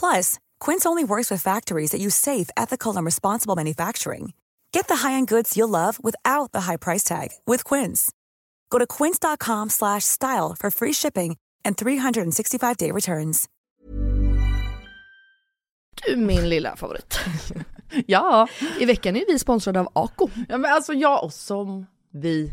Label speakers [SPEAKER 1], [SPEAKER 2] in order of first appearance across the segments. [SPEAKER 1] Plus, Quince only works with factories that use safe, ethical, and responsible manufacturing. Get the high-end goods you'll love without the high price tag with Quince. Go to quince.com slash style for free shipping and 365-day returns.
[SPEAKER 2] Du min lilla favorit.
[SPEAKER 3] Ja,
[SPEAKER 2] I veckan är vi sponsrade av Ako.
[SPEAKER 3] ja men alltså jag och som vi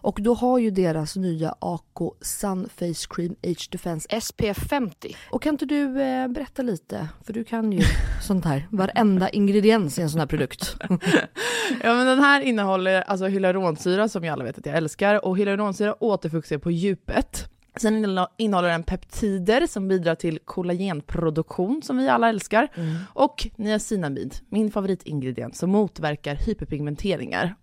[SPEAKER 2] Och då har ju deras nya AK Sun Face Cream Age Defense SPF 50. Och kan inte du eh, berätta lite, för du kan ju sånt här, varenda ingrediens i en sån här produkt.
[SPEAKER 3] Ja men den här innehåller alltså hyaluronsyra som ju alla vet att jag älskar och hyaluronsyra återfuktar på djupet. Sen innehå- innehåller den peptider som bidrar till kollagenproduktion som vi alla älskar.
[SPEAKER 2] Mm.
[SPEAKER 3] Och niacinamid, min favoritingrediens som motverkar hyperpigmenteringar.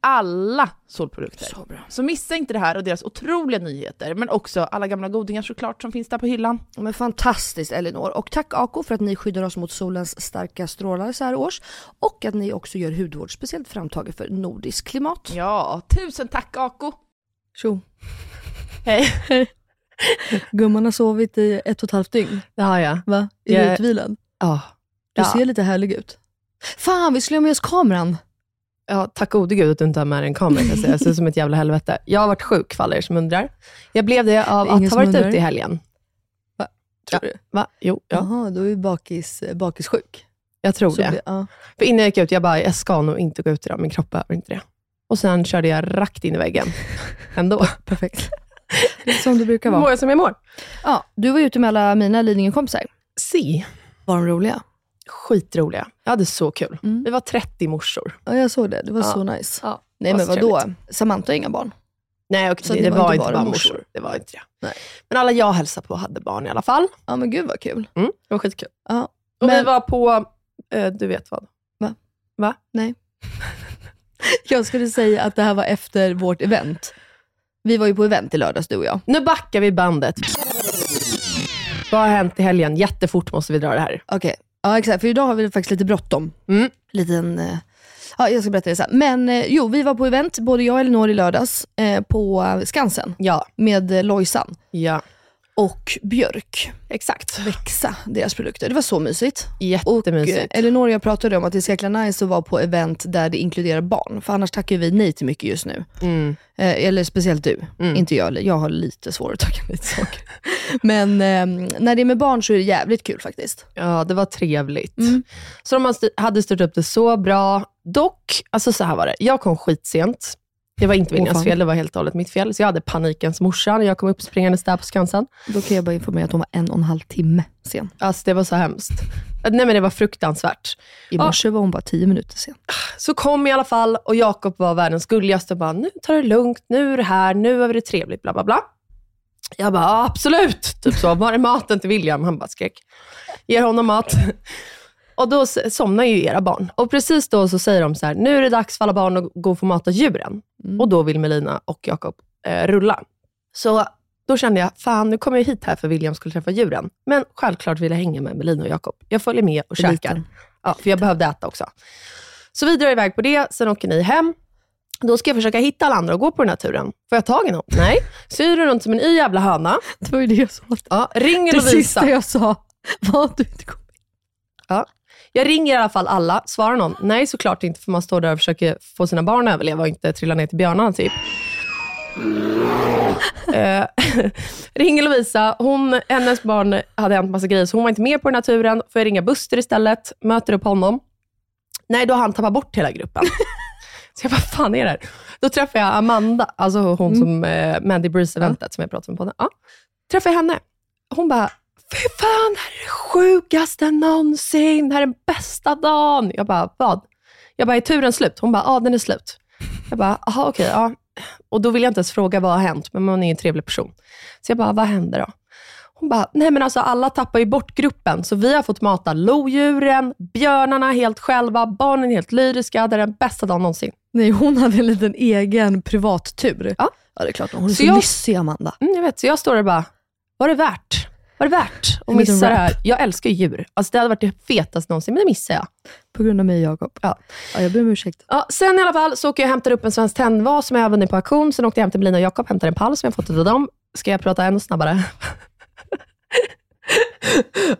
[SPEAKER 3] Alla solprodukter.
[SPEAKER 2] Så bra.
[SPEAKER 3] Så missa inte det här och deras otroliga nyheter, men också alla gamla godingar såklart som finns där på hyllan.
[SPEAKER 2] Men fantastiskt Elinor. Och tack Ako för att ni skyddar oss mot solens starka strålar så här års. Och att ni också gör hudvård speciellt framtaget för nordisk klimat.
[SPEAKER 3] Ja, tusen tack Ako!
[SPEAKER 4] Tjo.
[SPEAKER 3] Hej!
[SPEAKER 4] Gumman har sovit i ett och ett halvt dygn.
[SPEAKER 2] Det har jag.
[SPEAKER 4] Va? Är
[SPEAKER 3] Jag-
[SPEAKER 4] du utvilad?
[SPEAKER 2] Ja.
[SPEAKER 4] Du
[SPEAKER 2] Ja.
[SPEAKER 4] ser lite härlig ut.
[SPEAKER 2] Fan vi skulle ha med oss kameran.
[SPEAKER 4] Ja, tack gode gud att du inte har med dig en kamera kan jag säga. Jag ser ut som ett jävla helvete. Jag har varit sjuk, för alla er som undrar. Jag blev det av
[SPEAKER 5] Det är ingen
[SPEAKER 4] att ha
[SPEAKER 5] som
[SPEAKER 4] varit
[SPEAKER 5] undrar.
[SPEAKER 4] ute i helgen.
[SPEAKER 5] Tror du?
[SPEAKER 4] Va? Jo, ja.
[SPEAKER 5] Jaha, då är vi bakis, bakissjuk.
[SPEAKER 4] jag tror
[SPEAKER 5] Så
[SPEAKER 4] det.
[SPEAKER 5] det- ja.
[SPEAKER 4] För innan jag gick ut, jag bara, jag ska nog inte gå ut idag, min kropp behöver inte det. Och sen körde jag rakt in i väggen. Ändå. Perfekt.
[SPEAKER 5] Som det brukar
[SPEAKER 4] Mår
[SPEAKER 5] vara.
[SPEAKER 4] jag som jag mår?
[SPEAKER 2] Ja, du var ute med alla mina Lidingö-kompisar.
[SPEAKER 4] Si.
[SPEAKER 5] Var de roliga?
[SPEAKER 4] Skitroliga. Jag hade så kul.
[SPEAKER 5] Mm.
[SPEAKER 4] Vi var 30 morsor.
[SPEAKER 5] Ja, jag såg det. Det var
[SPEAKER 4] Ja.
[SPEAKER 5] så nice.
[SPEAKER 4] Ja,
[SPEAKER 2] Nej men vadå? Samantha har inga barn.
[SPEAKER 4] Nej, och
[SPEAKER 5] Så
[SPEAKER 4] det,
[SPEAKER 5] det
[SPEAKER 4] var,
[SPEAKER 5] var inte
[SPEAKER 4] inte
[SPEAKER 5] bara
[SPEAKER 4] bara
[SPEAKER 5] morsor.
[SPEAKER 4] morsor. Det var inte det.
[SPEAKER 5] Nej.
[SPEAKER 4] Men alla jag hälsade på hade barn i alla fall.
[SPEAKER 5] Ja, men gud vad kul.
[SPEAKER 4] Det var skitkul.
[SPEAKER 5] Ja.
[SPEAKER 4] Och vi
[SPEAKER 5] Men-
[SPEAKER 4] var på, eh, du vet vad?
[SPEAKER 5] Jag skulle säga att det här var efter vårt event.
[SPEAKER 2] Vi var ju på event i lördags du och jag.
[SPEAKER 4] Nu backar vi bandet. Vad har hänt i helgen? Jättefort måste vi dra det här.
[SPEAKER 2] Okej, ja exakt. För idag har vi faktiskt lite bråttom.
[SPEAKER 4] Mm.
[SPEAKER 2] Liten, eh, ja, jag ska berätta det sen. Men eh, jo, vi var på event, både jag och Elinor i lördags, eh, på eh, Skansen
[SPEAKER 4] Ja.
[SPEAKER 2] med eh, Lojsan.
[SPEAKER 4] ja.
[SPEAKER 2] och björk
[SPEAKER 6] Exakt.
[SPEAKER 2] växa deras produkter. Det var så mysigt. Och eh,
[SPEAKER 6] Jättemysigt.
[SPEAKER 2] Elinor och jag pratade om att det är så jäkla nice att vara på event där det inkluderar barn. För annars tackar vi nej till mycket just nu.
[SPEAKER 6] Mm.
[SPEAKER 2] Eh, eller speciellt du.
[SPEAKER 6] Mm.
[SPEAKER 2] Inte jag, jag har lite svårare att tacka nej till saker. Men eh, när det är med barn så är det jävligt kul faktiskt.
[SPEAKER 6] Ja, det var trevligt.
[SPEAKER 2] Mm.
[SPEAKER 6] Så de hade styr- hade styrt upp det så bra. Dock, alltså så här var det. Jag kom skitsent. Det var inte
[SPEAKER 2] Åh,
[SPEAKER 6] Vinjas
[SPEAKER 2] fan.
[SPEAKER 6] fel, det var helt och hållet mitt fel. Så jag hade panikens morsa när jag kom upp springandes där på Skansen.
[SPEAKER 2] Då kan jag bara informera att hon var en och en halv timme sen.
[SPEAKER 6] Alltså det var så hemskt. Nej men det var fruktansvärt.
[SPEAKER 2] I morse var hon bara tio minuter sen.
[SPEAKER 6] Så kom i alla fall och Jakob var världens gulligaste och bara, nu tar det lugnt, nu är det här, nu har vi det trevligt, bla bla bla. Jag bara, "Ja, absolut! Typ så, var är maten till William? Han bara skrek. Ger honom mat. Och då s- somnar ju era barn. Och precis då så säger de så här, nu är det dags för alla barn att gå och få mata djuren.
[SPEAKER 2] Mm.
[SPEAKER 6] Och då vill Melina och Jakob eh, rulla. Så då kände jag, fan nu kommer jag hit här för William skulle träffa djuren. Men självklart vill jag hänga med Melina och Jakob. Jag följer med och
[SPEAKER 2] Liten.
[SPEAKER 6] käkar. Ja, för jag behövde äta också. Så vi drar iväg på det, sen åker ni hem. Då ska jag försöka hitta alla andra och gå på den här turen. Får jag tag i någon? Nej. Så jag är runt som en y jävla höna.
[SPEAKER 2] Det var ju det jag sa.
[SPEAKER 6] Ja, ringer
[SPEAKER 2] Det
[SPEAKER 6] Lovisa.
[SPEAKER 2] sista jag sa var att du inte kom.
[SPEAKER 6] Jag ringer i alla fall alla. Svarar någon? Nej, såklart inte, för man står där och försöker få sina barn att överleva och inte trilla ner till björnarna typ. Eh, ringer Lovisa. Hon, hennes barn hade hänt massa grejer, så hon var inte med på den här turen. Får jag ringa Buster istället? Möter upp honom. Nej, då har han tappat bort hela gruppen. så jag bara, fan är det här? Då träffar jag Amanda, alltså hon som eh, Mandy Breeze-eventet som jag pratade om på den. Ja. Träffar jag henne. Hon bara, fy fan, det här är det sjukaste någonsin. Det här är den bästa dagen. Jag bara, vad? Jag bara, är turen slut? Hon bara, ja den är slut. Jag bara, jaha okej. ja. Och då vill jag inte ens fråga vad har hänt, men man är ju en trevlig person. Så jag bara, vad händer då? Hon bara, nej men alltså alla tappar ju bort gruppen, så vi har fått mata lodjuren, björnarna helt själva, barnen helt lyriska. Det är den bästa dagen någonsin.
[SPEAKER 2] Nej, hon hade en liten egen privattur.
[SPEAKER 6] Ja.
[SPEAKER 2] ja det är klart. Hon är
[SPEAKER 6] Så
[SPEAKER 2] så,
[SPEAKER 6] jag-
[SPEAKER 2] lyssig, Amanda.
[SPEAKER 6] Mm, jag vet, så jag står där och bara, var det värt? Var det värt att
[SPEAKER 2] En liten
[SPEAKER 6] missa det
[SPEAKER 2] rap.
[SPEAKER 6] här? Jag älskar ju djur. Alltså det hade varit det fetaste någonsin, men det missar jag.
[SPEAKER 2] På grund av mig, Jakob. Ja. ja, jag ber om ursäkt.
[SPEAKER 6] Ja, sen i alla fall så åker jag och hämtar upp en svensk tändvas som jag har vunnit på auktion. Sen åkte jag hem till Melina och Jakob, hämtade en pall som jag fått av dem. Ska jag prata ännu snabbare?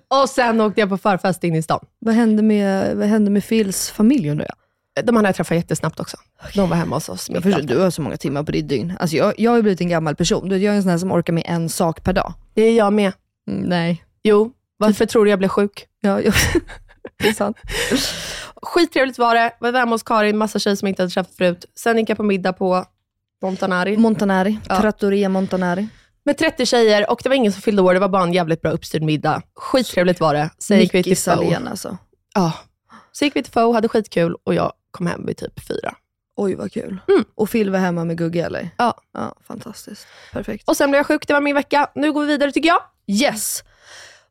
[SPEAKER 6] och sen åkte jag på förfest in i stan.
[SPEAKER 2] Vad hände med, vad hände med Phils familj undrar jag?
[SPEAKER 6] De hade jag träffat jättesnabbt också. De var hemma hos oss.
[SPEAKER 2] jag förstår, du har så många timmar på ditt dygn. Alltså, jag, jag har ju blivit en gammal person. Du vet, Jag är en sån här som orkar med en sak per dag.
[SPEAKER 6] Det är jag med.
[SPEAKER 2] nej.
[SPEAKER 6] Jo, varför tror du jag blev sjuk?
[SPEAKER 2] Ja, jag, det är sant.
[SPEAKER 6] Skittrevligt var det. Var hemma hos Karin, massa tjejer som jag inte hade träffat förut. Sen gick jag på middag på Montanari.
[SPEAKER 2] Montanari.
[SPEAKER 6] Ja.
[SPEAKER 2] Trattoria Montanari.
[SPEAKER 6] Med 30 tjejer och det var ingen som fyllde år. Det var bara en jävligt bra uppstyrd middag. Skittrevligt var det. Sen gick vi till
[SPEAKER 2] Nickis
[SPEAKER 6] Foe.
[SPEAKER 2] Allén alltså.
[SPEAKER 6] Ja. Så gick vi till Foe, hade skitkul och jag kom hem vid typ fyra.
[SPEAKER 2] Oj, vad kul.
[SPEAKER 6] Mm.
[SPEAKER 2] Och Phil var hemma med Gugge, eller?
[SPEAKER 6] Ja.
[SPEAKER 2] ja. Fantastiskt. Perfekt.
[SPEAKER 6] Och sen blev jag sjuk, det var min vecka. Nu går vi vidare tycker jag.
[SPEAKER 2] Yes!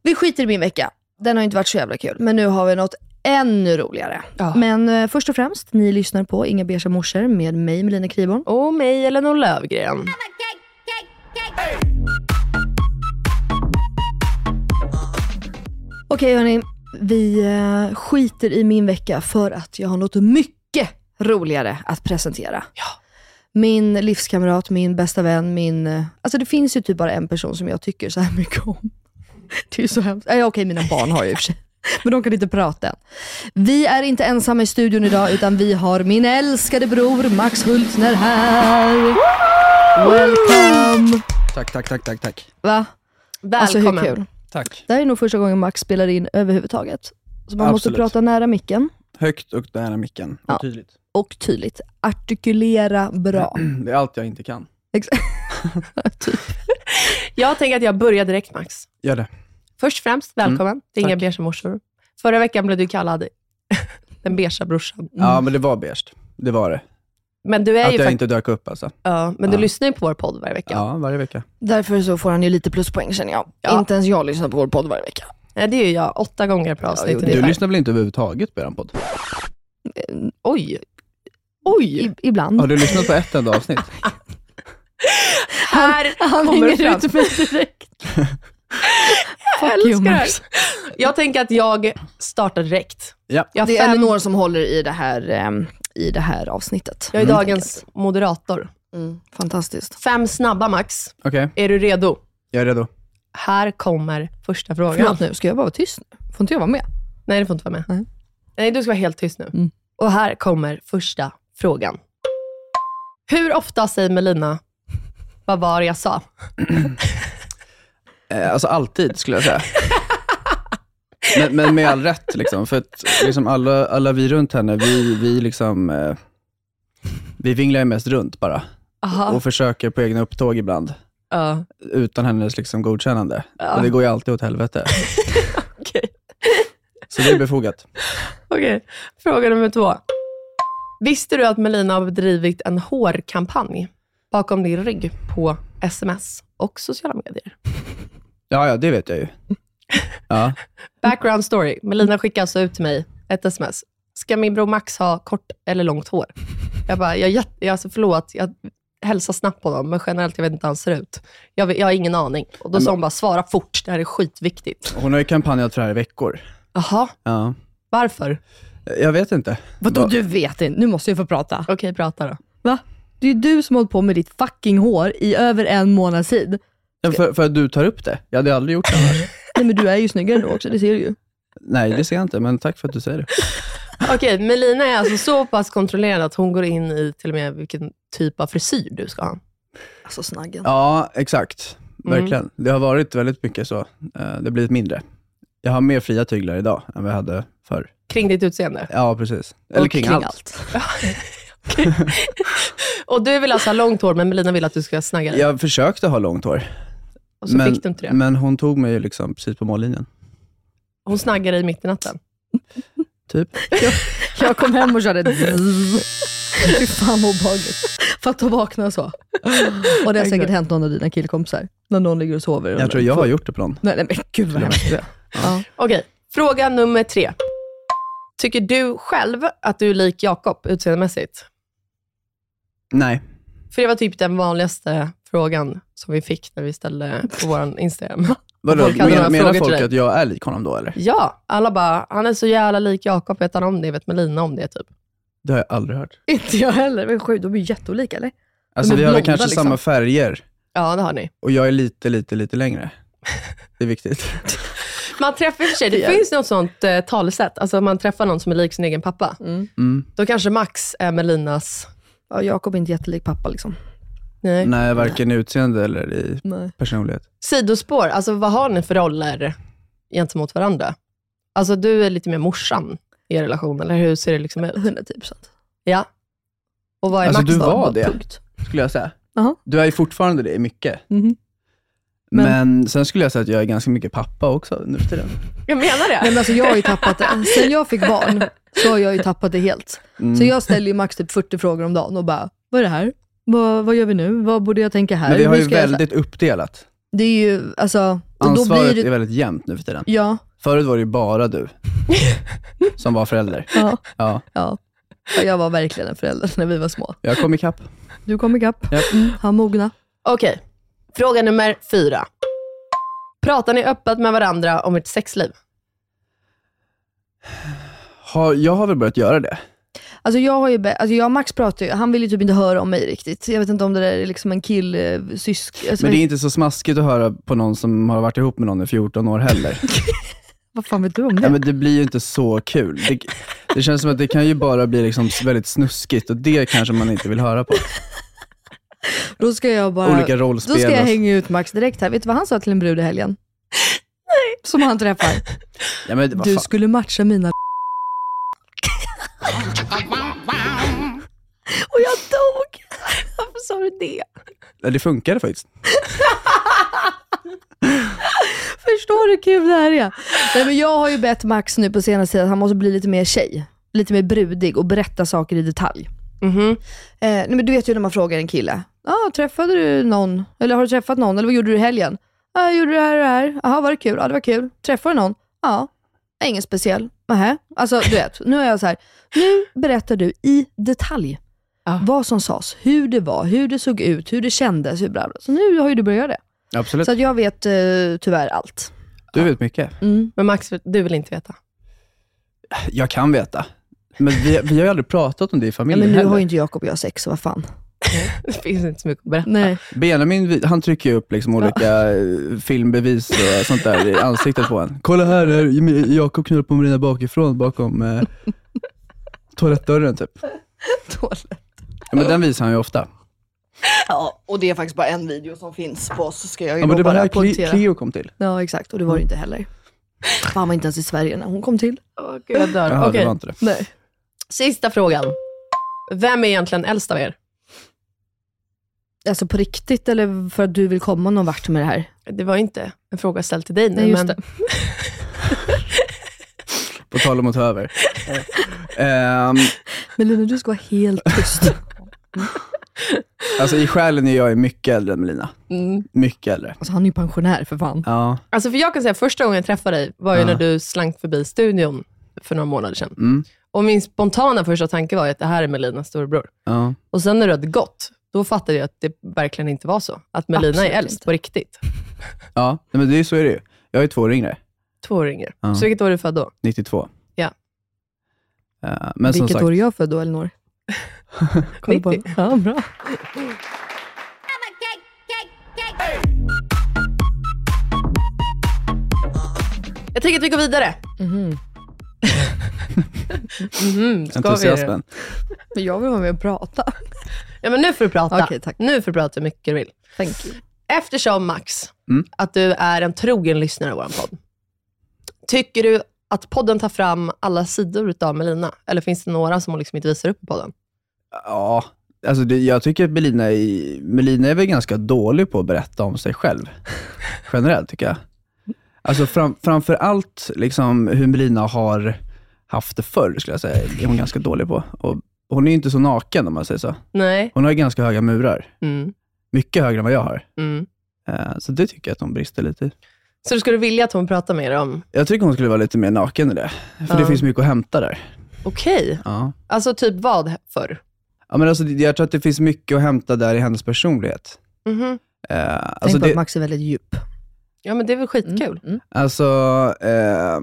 [SPEAKER 2] Vi skiter i min vecka. Den har inte varit så jävla kul, men nu har vi något ännu roligare.
[SPEAKER 6] Ja.
[SPEAKER 2] Men eh, först och främst, ni lyssnar på Inga beiga morsor med mig, Melina Kriborn.
[SPEAKER 6] Och mig eller någon Lövgren.
[SPEAKER 2] Okej hörni, vi eh, skiter i min vecka för att jag har något mycket roligare att presentera. Min livskamrat, min bästa vän, min... eh, Alltså det finns ju typ bara en person som jag tycker så här mycket om. Det är ju så hemskt. Eh, Okej, mina barn har jag i och för sig. Men de kan inte prata än. Vi är inte ensamma i studion idag, utan vi har min älskade bror Max Hultner här. Welcome!
[SPEAKER 4] Tack, tack, tack, tack, tack.
[SPEAKER 2] Va? Alltså
[SPEAKER 6] Välkommen.
[SPEAKER 2] hur kul?
[SPEAKER 4] Tack.
[SPEAKER 2] Det här är nog första gången Max spelar in överhuvudtaget. Så man måste
[SPEAKER 4] Absolut.
[SPEAKER 2] prata nära micken
[SPEAKER 4] Högt och nära micken. Och
[SPEAKER 2] Ja.
[SPEAKER 4] tydligt.
[SPEAKER 2] och tydligt. Artikulera bra.
[SPEAKER 6] Mm.
[SPEAKER 4] Det är allt jag inte kan.
[SPEAKER 6] Jag tänker att jag börjar direkt Max.
[SPEAKER 4] Gör det. Mm,
[SPEAKER 6] Först och främst, välkommen till Inga
[SPEAKER 4] Tack.
[SPEAKER 6] beiga morsor. Förra veckan blev du kallad den beigea brorsan.
[SPEAKER 4] Ja, men det var beige. Det var det.
[SPEAKER 6] Men du är
[SPEAKER 4] Att jag
[SPEAKER 6] ju faktiskt...
[SPEAKER 4] inte dök upp alltså.
[SPEAKER 6] Ja, men du
[SPEAKER 4] Ja.
[SPEAKER 6] lyssnar ju på vår podd varje vecka.
[SPEAKER 4] Ja, varje vecka.
[SPEAKER 2] Därför så får han ju lite pluspoäng känner jag.
[SPEAKER 6] Ja.
[SPEAKER 2] Inte ens jag lyssnar på vår podd varje vecka.
[SPEAKER 6] Nej, det är ju jag. Åtta gånger per avsnitt
[SPEAKER 2] jo, det-
[SPEAKER 4] Du
[SPEAKER 6] ungefär.
[SPEAKER 4] lyssnar väl inte överhuvudtaget på eran podd?
[SPEAKER 6] Oj! Oj!
[SPEAKER 2] I, ibland.
[SPEAKER 4] Har du lyssnat på ett enda avsnitt?
[SPEAKER 6] här
[SPEAKER 2] han
[SPEAKER 6] kommer det
[SPEAKER 2] hänger
[SPEAKER 6] fram.
[SPEAKER 2] ut mig direkt.
[SPEAKER 6] Jag
[SPEAKER 2] Fuck you,
[SPEAKER 6] älskar det här.
[SPEAKER 2] Max.
[SPEAKER 6] Jag tänker att jag startar direkt.
[SPEAKER 4] Ja.
[SPEAKER 6] Jag har,
[SPEAKER 2] Det är
[SPEAKER 6] fem,
[SPEAKER 2] Elinor som håller i det här, ehm, i det här avsnittet.
[SPEAKER 6] jag är
[SPEAKER 4] Mm.
[SPEAKER 2] helt
[SPEAKER 6] dagens
[SPEAKER 2] enkelt.
[SPEAKER 6] moderator.
[SPEAKER 2] Mm, fantastiskt.
[SPEAKER 6] Fem snabba max.
[SPEAKER 4] Okej,
[SPEAKER 6] Är du redo?
[SPEAKER 4] jag är redo.
[SPEAKER 6] här kommer första frågan.
[SPEAKER 7] Förlåt nu, ska jag bara vara tyst nu? Får inte jag vara med?
[SPEAKER 6] Nej, du får inte vara med.
[SPEAKER 7] Nej.
[SPEAKER 6] Nej, du ska vara helt tyst nu.
[SPEAKER 2] Mm.
[SPEAKER 6] Och här kommer första frågan. Hur ofta säger Melina, vad var det jag sa?
[SPEAKER 4] Eh, alltså alltid skulle jag säga. Men, men med all rätt, liksom, för att liksom alla, alla vi runt henne, vi, vi, liksom, eh, vi vinglar ju mest runt bara
[SPEAKER 6] Aha.
[SPEAKER 4] och försöker på egna upptåg ibland
[SPEAKER 6] Ja,
[SPEAKER 4] utan hennes liksom, godkännande.
[SPEAKER 6] Ja.
[SPEAKER 4] Och det går ju alltid åt helvete.
[SPEAKER 6] okej.
[SPEAKER 4] Så det är befogat.
[SPEAKER 6] Okej. Fråga nummer två. Visste du att Melina har bedrivit en hårkampanj bakom din rygg på sms och sociala medier?
[SPEAKER 4] Ja, ja, det vet jag ju. Ja.
[SPEAKER 6] Background story. Melina skickar alltså ut till mig ett sms. Ska min bror Max ha kort eller långt hår? Jag bara, jag, är jätte- jag, alltså, förlåt, jag hälsar snabbt på honom, men generellt jag vet inte hur han ser ut. Jag, vet- jag har ingen aning. Och Då sa hon bara, svara fort, det här är skitviktigt.
[SPEAKER 4] Hon har ju kampanjat för det här i veckor.
[SPEAKER 6] Jaha,
[SPEAKER 4] Ja.
[SPEAKER 6] varför?
[SPEAKER 4] Jag vet inte.
[SPEAKER 2] Vadå,
[SPEAKER 4] Vad-
[SPEAKER 2] du vet inte? Nu måste jag få prata.
[SPEAKER 6] Okej, prata då.
[SPEAKER 2] Va? Det är ju du som har hållit på med ditt fucking hår i över en månads tid.
[SPEAKER 4] Ja, För, för att du tar upp det. Jag hade aldrig gjort det annars.
[SPEAKER 2] Nej, men du är ju snyggare då också, det ser du ju.
[SPEAKER 4] Nej, det ser jag inte, men tack för att du säger det.
[SPEAKER 6] Okej, Melina är alltså så pass kontrollerad att hon går in i till och med vilken typ av frisyr du ska ha.
[SPEAKER 7] Alltså snaggen.
[SPEAKER 4] Ja, exakt.
[SPEAKER 6] Mm.
[SPEAKER 4] Verkligen. Det har varit väldigt mycket så. Eh, Det har blivit mindre. Jag har mer fria tyglar idag än vad jag hade förr.
[SPEAKER 6] Kring ditt utseende.
[SPEAKER 4] Ja, precis. Eller
[SPEAKER 6] Och
[SPEAKER 4] kring,
[SPEAKER 6] kring
[SPEAKER 4] allt.
[SPEAKER 6] Okej. och du vill alltså ha långt hår, men Melina vill att du ska snagga dig.
[SPEAKER 4] Jag försökte ha långt hår,
[SPEAKER 6] och så
[SPEAKER 4] men,
[SPEAKER 6] fick du inte det.
[SPEAKER 4] men hon tog mig ju liksom precis på mållinjen.
[SPEAKER 6] Hon snaggar dig mitt i natten.
[SPEAKER 4] Typ.
[SPEAKER 2] Jag kom hem och körde ett zzzz. Fy fan vad obehagligt. För att vakna så. Och det har säkert hänt någon av dina killkompisar. När någon ligger och sover.
[SPEAKER 4] Jag tror jag har gjort det på någon.
[SPEAKER 2] Nej, nej men gud vad
[SPEAKER 4] Till och
[SPEAKER 2] hemskt.
[SPEAKER 4] med det.
[SPEAKER 6] Okej, fråga nummer tre. Tycker du själv att du är lik Jakob utseendemässigt?
[SPEAKER 4] Nej.
[SPEAKER 6] För det var typ den vanligaste frågan som vi fick när vi ställde på vår Instagram.
[SPEAKER 4] Vadå,
[SPEAKER 6] Folk hade några
[SPEAKER 4] men, menar
[SPEAKER 6] frågor till
[SPEAKER 4] folk
[SPEAKER 6] dig.
[SPEAKER 4] att jag är lik honom då, eller?
[SPEAKER 6] Ja, alla bara, han är så jävla lik Jakob, vet han om det? Vet Melina om det? Typ.
[SPEAKER 4] Det har jag aldrig hört.
[SPEAKER 2] Inte jag heller. Men sjukt, de är ju jätteolika eller?
[SPEAKER 4] Alltså,
[SPEAKER 2] Men
[SPEAKER 4] vi har väl
[SPEAKER 2] blonda,
[SPEAKER 4] kanske
[SPEAKER 2] liksom.
[SPEAKER 4] samma färger
[SPEAKER 6] Ja, det har ni.
[SPEAKER 4] och jag är lite, lite, lite längre. Det är viktigt.
[SPEAKER 6] Man träffar i och för sig, det
[SPEAKER 2] gör
[SPEAKER 6] finns något sånt eh, talesätt, alltså man träffar någon som är lik sin egen pappa.
[SPEAKER 4] Mm.
[SPEAKER 6] Då kanske Max är Melinas...
[SPEAKER 7] Ja, Jakob är inte jättelik pappa liksom.
[SPEAKER 6] Nej.
[SPEAKER 4] Nej, varken i utseende eller i
[SPEAKER 2] Nej.
[SPEAKER 4] personlighet.
[SPEAKER 6] Sidospår, alltså vad har ni för roller gentemot varandra? Alltså du är lite mer morsan i er relation, eller hur ser det liksom ut?
[SPEAKER 2] 110 procent.
[SPEAKER 6] Ja. Och vad är
[SPEAKER 4] Alltså
[SPEAKER 6] Max
[SPEAKER 4] du
[SPEAKER 6] då?
[SPEAKER 4] var det, skulle jag säga.
[SPEAKER 2] Jaha.
[SPEAKER 4] Du är ju fortfarande det i mycket.
[SPEAKER 2] Mhm.
[SPEAKER 4] Men...
[SPEAKER 2] Men-
[SPEAKER 4] sen skulle jag säga att jag är ganska mycket pappa också nu för tiden.
[SPEAKER 6] Jag menar det.
[SPEAKER 2] Nej, men alltså, jag har ju tappat det. Sen jag fick barn så har jag ju tappat det helt.
[SPEAKER 4] Mm.
[SPEAKER 2] Så jag ställer ju max typ 40 frågor om dagen och bara, vad är det här? Vad, vad gör vi nu? Vad borde jag tänka här?
[SPEAKER 4] Men vi har
[SPEAKER 2] Hur
[SPEAKER 4] ju
[SPEAKER 2] ska jag göra så här?"
[SPEAKER 4] väldigt uppdelat.
[SPEAKER 2] Det är ju, alltså, och då
[SPEAKER 4] Ansvaret
[SPEAKER 2] blir det...
[SPEAKER 4] är väldigt jämnt nu för tiden.
[SPEAKER 2] Ja,
[SPEAKER 4] Förut var det ju bara du som var förälder.
[SPEAKER 2] ja,
[SPEAKER 4] Ja,
[SPEAKER 2] ja. Ja, Jag var verkligen en förälder när vi var små.
[SPEAKER 4] jag kom ikapp.
[SPEAKER 2] Du kom ikapp.
[SPEAKER 4] Ja.
[SPEAKER 2] Mm, han mogna.
[SPEAKER 6] Okej, fråga nummer fyra. Pratar ni öppet med varandra om ert sexliv?
[SPEAKER 4] Har, jag har väl börjat göra det.
[SPEAKER 2] Alltså jag har ju, be- alltså jag och Max pratar ju, han vill ju typ inte höra om mig riktigt. Jag vet inte om det där är liksom en kill, eh, sysk... Alltså,
[SPEAKER 4] Men det är inte så smaskigt att höra på någon som har varit ihop med någon i 14 år heller.
[SPEAKER 2] Vad fan vet du om
[SPEAKER 4] Ja,
[SPEAKER 2] det?
[SPEAKER 4] men det blir ju inte så kul. Det, det känns som att det kan ju bara bli liksom väldigt snuskigt och det kanske man inte vill höra på.
[SPEAKER 2] Då ska jag bara...
[SPEAKER 4] Olika rollspel.
[SPEAKER 2] Då ska jag
[SPEAKER 4] och-
[SPEAKER 2] hänga ut Max direkt här. Vet du vad han sa till en brud i helgen? Nej. Som han träffar.
[SPEAKER 4] ja, men, vad
[SPEAKER 2] Du
[SPEAKER 4] fan.
[SPEAKER 2] skulle matcha mina Och jag dog!
[SPEAKER 6] Varför sa du det?
[SPEAKER 4] Ja, Det funkade faktiskt.
[SPEAKER 2] Förstår du hur kul det här är? Nej, men jag har ju bett Max nu på senaste tiden att han måste bli lite mer tjej. Lite mer brudig och berätta saker i detalj. Eh, nej, men du vet ju när man frågar en kille. Ah, träffade du någon? Eller har du träffat någon? Eller vad gjorde du i helgen? Ah, jag gjorde det här och det här. Jaha, var det kul? Ja, det var kul. Träffade du någon? Ja. "Nej, Ingen speciell. Nähä. Alltså, du vet. Nu är jag så här. Nu berättar du i detalj
[SPEAKER 6] Ja.
[SPEAKER 2] vad som sades, hur det var, hur det såg ut, hur det kändes. Hur bla bla. Så nu har ju du börjat göra det.
[SPEAKER 4] Absolut.
[SPEAKER 2] Så att jag vet eh, tyvärr allt.
[SPEAKER 4] Du vet mycket.
[SPEAKER 6] Men Max, du vill inte veta.
[SPEAKER 4] Jag kan veta. Men vi, vi har ju aldrig pratat om det i
[SPEAKER 2] Ja,
[SPEAKER 4] familjen
[SPEAKER 2] men nu
[SPEAKER 4] heller.
[SPEAKER 2] har ju inte Jakob och jag sex, så vad fan.
[SPEAKER 6] Det finns inte så mycket att berätta.
[SPEAKER 2] Nej.
[SPEAKER 4] Benjamin vi- han trycker ju upp liksom olika eh, filmbevis och sånt där i ansiktet på en. Kolla här, här Jimmy- Jakob knullar på Marina bakifrån bakom eh, toalettdörren typ. Ja, men den visar han ju ofta.
[SPEAKER 7] Ja, och det är faktiskt bara en video som finns på oss, så ska jag ju
[SPEAKER 4] Ja, men
[SPEAKER 7] då
[SPEAKER 4] det var
[SPEAKER 7] bara
[SPEAKER 4] här Cleo-
[SPEAKER 7] poängtera.
[SPEAKER 4] Cleo kom till.
[SPEAKER 2] Ja, exakt. Och det var det inte heller. Fan var inte ens i Sverige när hon kom till.
[SPEAKER 6] Åh, gud, jag dör.
[SPEAKER 4] Jaha,
[SPEAKER 6] Okej.
[SPEAKER 4] det var inte det.
[SPEAKER 2] Nej.
[SPEAKER 6] Sista frågan. Vem är egentligen äldst av er?
[SPEAKER 2] Alltså på riktigt eller för att du vill komma någon vart med det här?
[SPEAKER 6] Det var inte en fråga ställd till dig nu,
[SPEAKER 2] Nej, just
[SPEAKER 6] men
[SPEAKER 2] det.
[SPEAKER 4] På tal om att ta över. Ehm,
[SPEAKER 2] Melina, du ska vara helt tyst.
[SPEAKER 4] alltså i själen är jag ju mycket äldre än Melina. Mycket äldre.
[SPEAKER 2] Alltså han är ju pensionär för fan.
[SPEAKER 4] Ja.
[SPEAKER 6] Alltså för jag kan säga, första gången jag träffade dig var ju
[SPEAKER 4] Ja.
[SPEAKER 6] när du slank förbi studion för några månader sedan.
[SPEAKER 4] Mm.
[SPEAKER 6] Och min spontana första tanke var ju att det här är Melinas storebror.
[SPEAKER 4] ja.
[SPEAKER 6] Och sen när du hade gått, då fattade jag att det verkligen inte var så. Att Melina
[SPEAKER 2] Absolut
[SPEAKER 6] är äldst
[SPEAKER 2] inte.
[SPEAKER 6] på riktigt.
[SPEAKER 4] Ja, nej, men det är, så är det ju. Jag är två år yngre,
[SPEAKER 6] Två år yngre.
[SPEAKER 4] Ja.
[SPEAKER 6] Så vilket år är du född då?
[SPEAKER 4] 92.
[SPEAKER 6] Ja.
[SPEAKER 4] Eh, men som
[SPEAKER 2] Vilket
[SPEAKER 4] sagt,
[SPEAKER 2] år är jag född då, Elinor? Kolla på-
[SPEAKER 6] 90.
[SPEAKER 2] Ja, bra.
[SPEAKER 6] Jag tänker att vi går vidare. Mhm, ska vi det?
[SPEAKER 4] entusiasmen.
[SPEAKER 2] Men jag vill vara med och prata.
[SPEAKER 6] Ja, men nu får du prata.
[SPEAKER 2] Okej, tack.
[SPEAKER 6] Nu får du prata hur mycket du vill.
[SPEAKER 2] Thank you.
[SPEAKER 6] Eftersom Max,
[SPEAKER 4] Mm.
[SPEAKER 6] att du är en trogen lyssnare av vår podd, tycker du att podden tar fram alla sidor utav Melina? Eller finns det några som hon liksom inte visar upp i podden?
[SPEAKER 4] Ja, alltså det, jag tycker att Melina är, Melina är väl ganska dålig på att berätta om sig själv. Generellt tycker jag. Alltså fram, framför allt liksom hur Melina har haft det förr, skulle jag säga, är
[SPEAKER 6] Mm.
[SPEAKER 4] hon ganska dålig på. Och hon är ju inte så naken om man säger så.
[SPEAKER 6] Nej.
[SPEAKER 4] Hon har ju ganska höga murar.
[SPEAKER 6] Mm.
[SPEAKER 4] Mycket högre än vad jag har.
[SPEAKER 6] Mm.
[SPEAKER 4] Eh, Så det tycker jag att hon brister lite i.
[SPEAKER 6] Så du skulle vilja att hon pratar mer om,
[SPEAKER 4] Jag tycker hon skulle vara lite mer naken i det. För det
[SPEAKER 6] Ja.
[SPEAKER 4] finns mycket att hämta där.
[SPEAKER 6] okej,
[SPEAKER 4] Ja.
[SPEAKER 6] alltså typ vad för?
[SPEAKER 4] Ja, men alltså, det- jag tror att det finns mycket att hämta där i hennes personlighet.
[SPEAKER 6] Mhm.
[SPEAKER 4] Eh,
[SPEAKER 2] Tänk
[SPEAKER 4] alltså
[SPEAKER 2] på att
[SPEAKER 4] det,
[SPEAKER 2] Max är väldigt djup.
[SPEAKER 6] Ja men det är väl skitkul.
[SPEAKER 4] alltså, eh,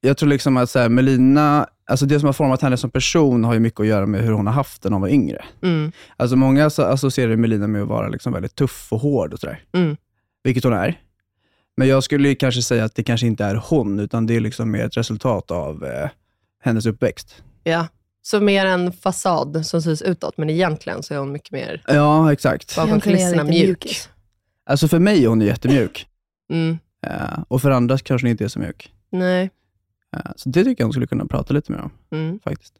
[SPEAKER 4] jag tror liksom att så här, Melina, alltså det som har format henne som person har ju mycket att göra med hur hon har haft det när hon var yngre.
[SPEAKER 6] Mm.
[SPEAKER 4] Alltså många asso- associerar Melina med att vara liksom väldigt tuff och hård och sådär.
[SPEAKER 6] Mm.
[SPEAKER 4] Vilket hon är. Men jag skulle ju kanske säga att det kanske inte är hon, utan det är liksom mer ett resultat av eh, hennes uppväxt.
[SPEAKER 6] Ja. Så mer en fasad som syns utåt, men egentligen så är hon mycket mer
[SPEAKER 4] Ja, exakt.
[SPEAKER 6] bakom
[SPEAKER 2] Egentligen är jag en
[SPEAKER 6] kulisserna
[SPEAKER 2] riktig
[SPEAKER 6] mjuk.
[SPEAKER 2] mjukis.
[SPEAKER 4] Alltså för mig är hon jättemjuk.
[SPEAKER 6] Mm.
[SPEAKER 4] Eh, och för andra kanske hon inte är så mjuk.
[SPEAKER 6] Nej.
[SPEAKER 4] Eh, Så det tycker jag hon skulle kunna prata lite mer om
[SPEAKER 6] Mm.
[SPEAKER 4] faktiskt.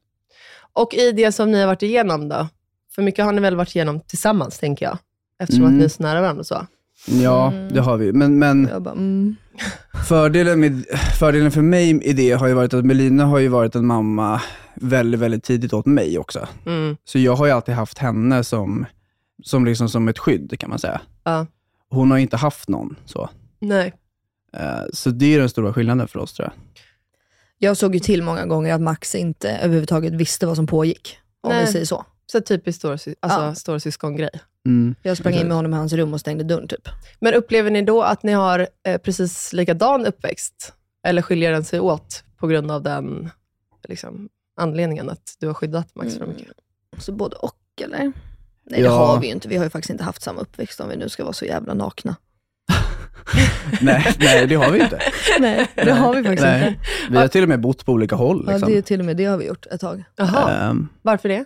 [SPEAKER 6] Och i det som ni har varit igenom då? För mycket har ni väl varit igenom tillsammans, tänker jag? Eftersom
[SPEAKER 4] Mm.
[SPEAKER 6] att ni är så nära varandra och så.
[SPEAKER 4] Ja, det har vi. Men, men
[SPEAKER 2] Jag bara, mm.
[SPEAKER 4] fördelen, med, fördelen för mig i det har ju varit att Melina har ju varit en mamma väldigt, väldigt tidigt åt mig också.
[SPEAKER 6] Mm.
[SPEAKER 4] Så jag har ju alltid haft henne som, som, liksom som ett skydd kan man säga.
[SPEAKER 6] Ja.
[SPEAKER 4] Hon har ju inte haft någon så.
[SPEAKER 6] Nej.
[SPEAKER 4] Eh, Så det är den stora skillnaden för oss tror jag.
[SPEAKER 2] Jag såg ju till många gånger att Max inte överhuvudtaget visste vad som pågick. Om
[SPEAKER 6] Nej.
[SPEAKER 2] vi säger så.
[SPEAKER 6] Så typiskt stora, sy- alltså,
[SPEAKER 2] Ja.
[SPEAKER 6] stora syskongrej.
[SPEAKER 4] Mm.
[SPEAKER 2] Jag sprang in med honom i hans rum och stängde dörren typ.
[SPEAKER 6] Men upplever ni då att ni har eh, precis likadan uppväxt? Eller skiljer den sig åt på grund av den liksom, anledningen att du har skyddat Max för mycket?
[SPEAKER 2] Så både och eller? Nej det
[SPEAKER 4] Ja.
[SPEAKER 2] har vi ju inte. Vi har ju faktiskt inte haft samma uppväxt om vi nu ska vara så jävla nakna.
[SPEAKER 4] Nej, nej, det har vi inte.
[SPEAKER 2] Nej, det har vi faktiskt
[SPEAKER 4] Nej.
[SPEAKER 2] inte.
[SPEAKER 4] Vi har till och med bott på olika håll.
[SPEAKER 2] Ja,
[SPEAKER 4] Liksom.
[SPEAKER 2] det är till och med det har vi gjort ett tag.
[SPEAKER 6] Jaha,
[SPEAKER 4] Ehm,
[SPEAKER 6] varför det?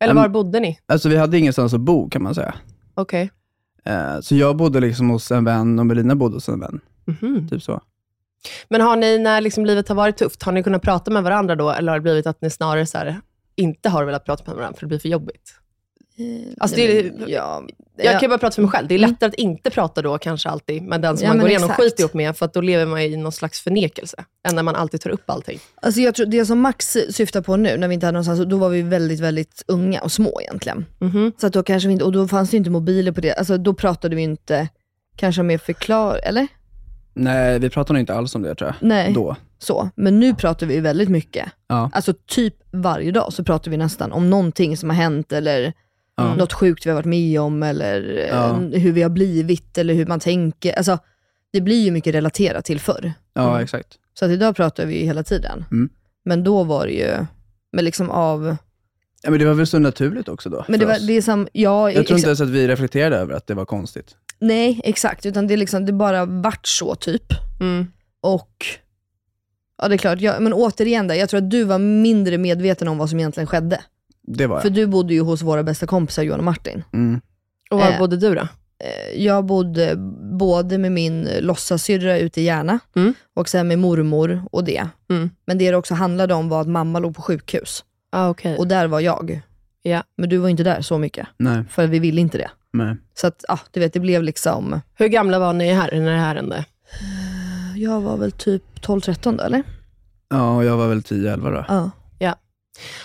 [SPEAKER 6] Eller
[SPEAKER 4] Ehm,
[SPEAKER 6] var bodde ni?
[SPEAKER 4] Alltså vi hade ingenstans att bo kan man säga.
[SPEAKER 6] Okej.
[SPEAKER 4] Eh, Så jag bodde liksom hos en vän och Melina bodde hos en vän.
[SPEAKER 6] Mhm.
[SPEAKER 4] Typ så.
[SPEAKER 6] Men har ni, när liksom livet har varit tufft, har ni kunnat prata med varandra då? Eller har det blivit att ni snarare så här, inte har velat prata med varandra för det blir för jobbigt? Alltså, det är-
[SPEAKER 2] ja, Mm.
[SPEAKER 6] Jag kan ju bara prata för mig själv. Det är lättare att inte prata då kanske alltid med den som
[SPEAKER 2] Ja,
[SPEAKER 6] man
[SPEAKER 2] men
[SPEAKER 6] går igenom
[SPEAKER 2] exakt.
[SPEAKER 6] skit ihop med, för att då lever man i någon slags förnekelse. Än när man alltid tar upp allting.
[SPEAKER 2] Alltså jag tror det som Max syftar på nu, när vi inte hade någonstans, då var vi väldigt, väldigt unga och små egentligen.
[SPEAKER 4] Mhm.
[SPEAKER 2] Så att då kanske vi inte, och då fanns det ju inte mobiler på det, alltså då pratade vi inte kanske mer förklar, eller?
[SPEAKER 4] Nej, vi pratade nog inte alls om det tror jag.
[SPEAKER 2] Nej.
[SPEAKER 4] Då.
[SPEAKER 2] Så. Men nu pratar vi ju väldigt mycket.
[SPEAKER 4] Ja.
[SPEAKER 2] Alltså typ varje dag så pratar vi nästan om någonting som har hänt eller
[SPEAKER 4] Ja.
[SPEAKER 2] något sjukt vi har varit med om eller eh,
[SPEAKER 4] Ja.
[SPEAKER 2] hur vi har blivit eller hur man tänker. Alltså, det blir ju mycket relaterat till förr.
[SPEAKER 4] Ja, exakt.
[SPEAKER 2] Så att idag pratar vi ju hela tiden.
[SPEAKER 4] Mm.
[SPEAKER 2] Men då var det ju, men liksom av
[SPEAKER 4] Ja, men det var väl så naturligt också då?
[SPEAKER 2] Men det,
[SPEAKER 4] för
[SPEAKER 2] var,
[SPEAKER 4] oss.
[SPEAKER 2] det är som, ja,
[SPEAKER 4] jag tror
[SPEAKER 2] exa-
[SPEAKER 4] inte ens att vi reflekterade över att det var konstigt.
[SPEAKER 2] Nej, exakt. Utan det, är liksom, det bara vart så typ.
[SPEAKER 4] Mm.
[SPEAKER 2] Och Ja det är klart, jag, men återigen där, jag tror att du var mindre medveten om vad som egentligen skedde.
[SPEAKER 4] Det var
[SPEAKER 2] För
[SPEAKER 4] jag.
[SPEAKER 2] du bodde ju hos våra bästa kompisar Johan och Martin.
[SPEAKER 4] Mm.
[SPEAKER 6] Och var
[SPEAKER 2] Eh.
[SPEAKER 6] bodde du då?
[SPEAKER 2] Eh, Jag bodde både med min låtsasyrra ute i Järna
[SPEAKER 6] Mm.
[SPEAKER 2] och sen med mormor och det.
[SPEAKER 6] Mm.
[SPEAKER 2] Men det det också handlade om var att mamma låg på sjukhus
[SPEAKER 6] Ah,
[SPEAKER 4] Mm.
[SPEAKER 6] okay.
[SPEAKER 2] och där var jag.
[SPEAKER 6] Ja.
[SPEAKER 2] Men du var inte där så mycket,
[SPEAKER 4] Nej,
[SPEAKER 2] för vi ville inte det.
[SPEAKER 4] nej.
[SPEAKER 2] Så att, ja, du vet, det blev liksom...
[SPEAKER 6] Hur gamla var ni här när det här hände?
[SPEAKER 2] Jag var väl typ 12-13 då, eller?
[SPEAKER 4] Ja, och jag var väl 10-11 då.
[SPEAKER 2] Ja.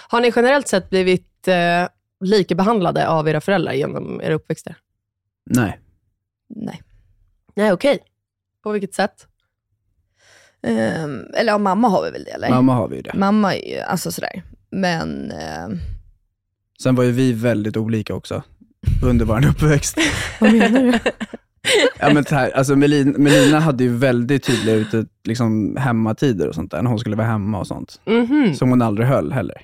[SPEAKER 6] Har ni generellt sett blivit eh, likabehandlade av era föräldrar genom era uppväxter?
[SPEAKER 4] Nej.
[SPEAKER 2] Nej.
[SPEAKER 6] Nej, okej. På vilket sätt?
[SPEAKER 2] Ehm, eller ja, mamma har vi väl det, eller?
[SPEAKER 4] Mamma har vi ju det.
[SPEAKER 2] Mamma är ju, alltså sådär. Men, ehm,
[SPEAKER 4] Sen var ju vi väldigt olika också under vår uppväxt.
[SPEAKER 2] vad menar du?
[SPEAKER 4] Ja, men så här, alltså Melin, Melina hade ju väldigt tydliga ute, liksom, hemmatider och sånt där, när hon skulle vara hemma och sånt.
[SPEAKER 6] Mhm.
[SPEAKER 4] Som hon aldrig höll heller.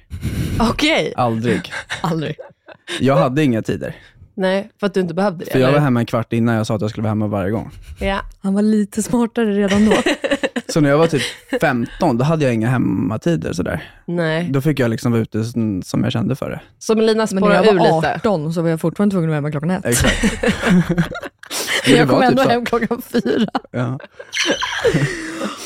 [SPEAKER 6] Okej.
[SPEAKER 4] Aldrig.
[SPEAKER 2] Aldrig.
[SPEAKER 4] Jag hade inga tider.
[SPEAKER 6] Nej, för att du inte behövde det?
[SPEAKER 4] För jag var
[SPEAKER 6] eller?
[SPEAKER 4] hemma en kvart innan jag sa att jag skulle vara hemma varje gång.
[SPEAKER 6] Ja.
[SPEAKER 2] Han var lite smartare redan då.
[SPEAKER 4] Så när jag var typ 15, då hade jag inga hemmatider sådär.
[SPEAKER 6] Nej.
[SPEAKER 4] Då fick jag liksom vara ute s- som jag kände för det.
[SPEAKER 6] Så Melina
[SPEAKER 2] Men när
[SPEAKER 6] spårar
[SPEAKER 2] jag
[SPEAKER 6] ur
[SPEAKER 2] var
[SPEAKER 6] lite.
[SPEAKER 2] 18 så var jag fortfarande tvungen att vara hemma klockan ett.
[SPEAKER 4] Exakt. Men
[SPEAKER 2] Men
[SPEAKER 4] det
[SPEAKER 2] jag
[SPEAKER 4] var
[SPEAKER 2] kom
[SPEAKER 4] typ
[SPEAKER 2] ändå
[SPEAKER 4] så.
[SPEAKER 2] hem klockan fyra.
[SPEAKER 4] Ja.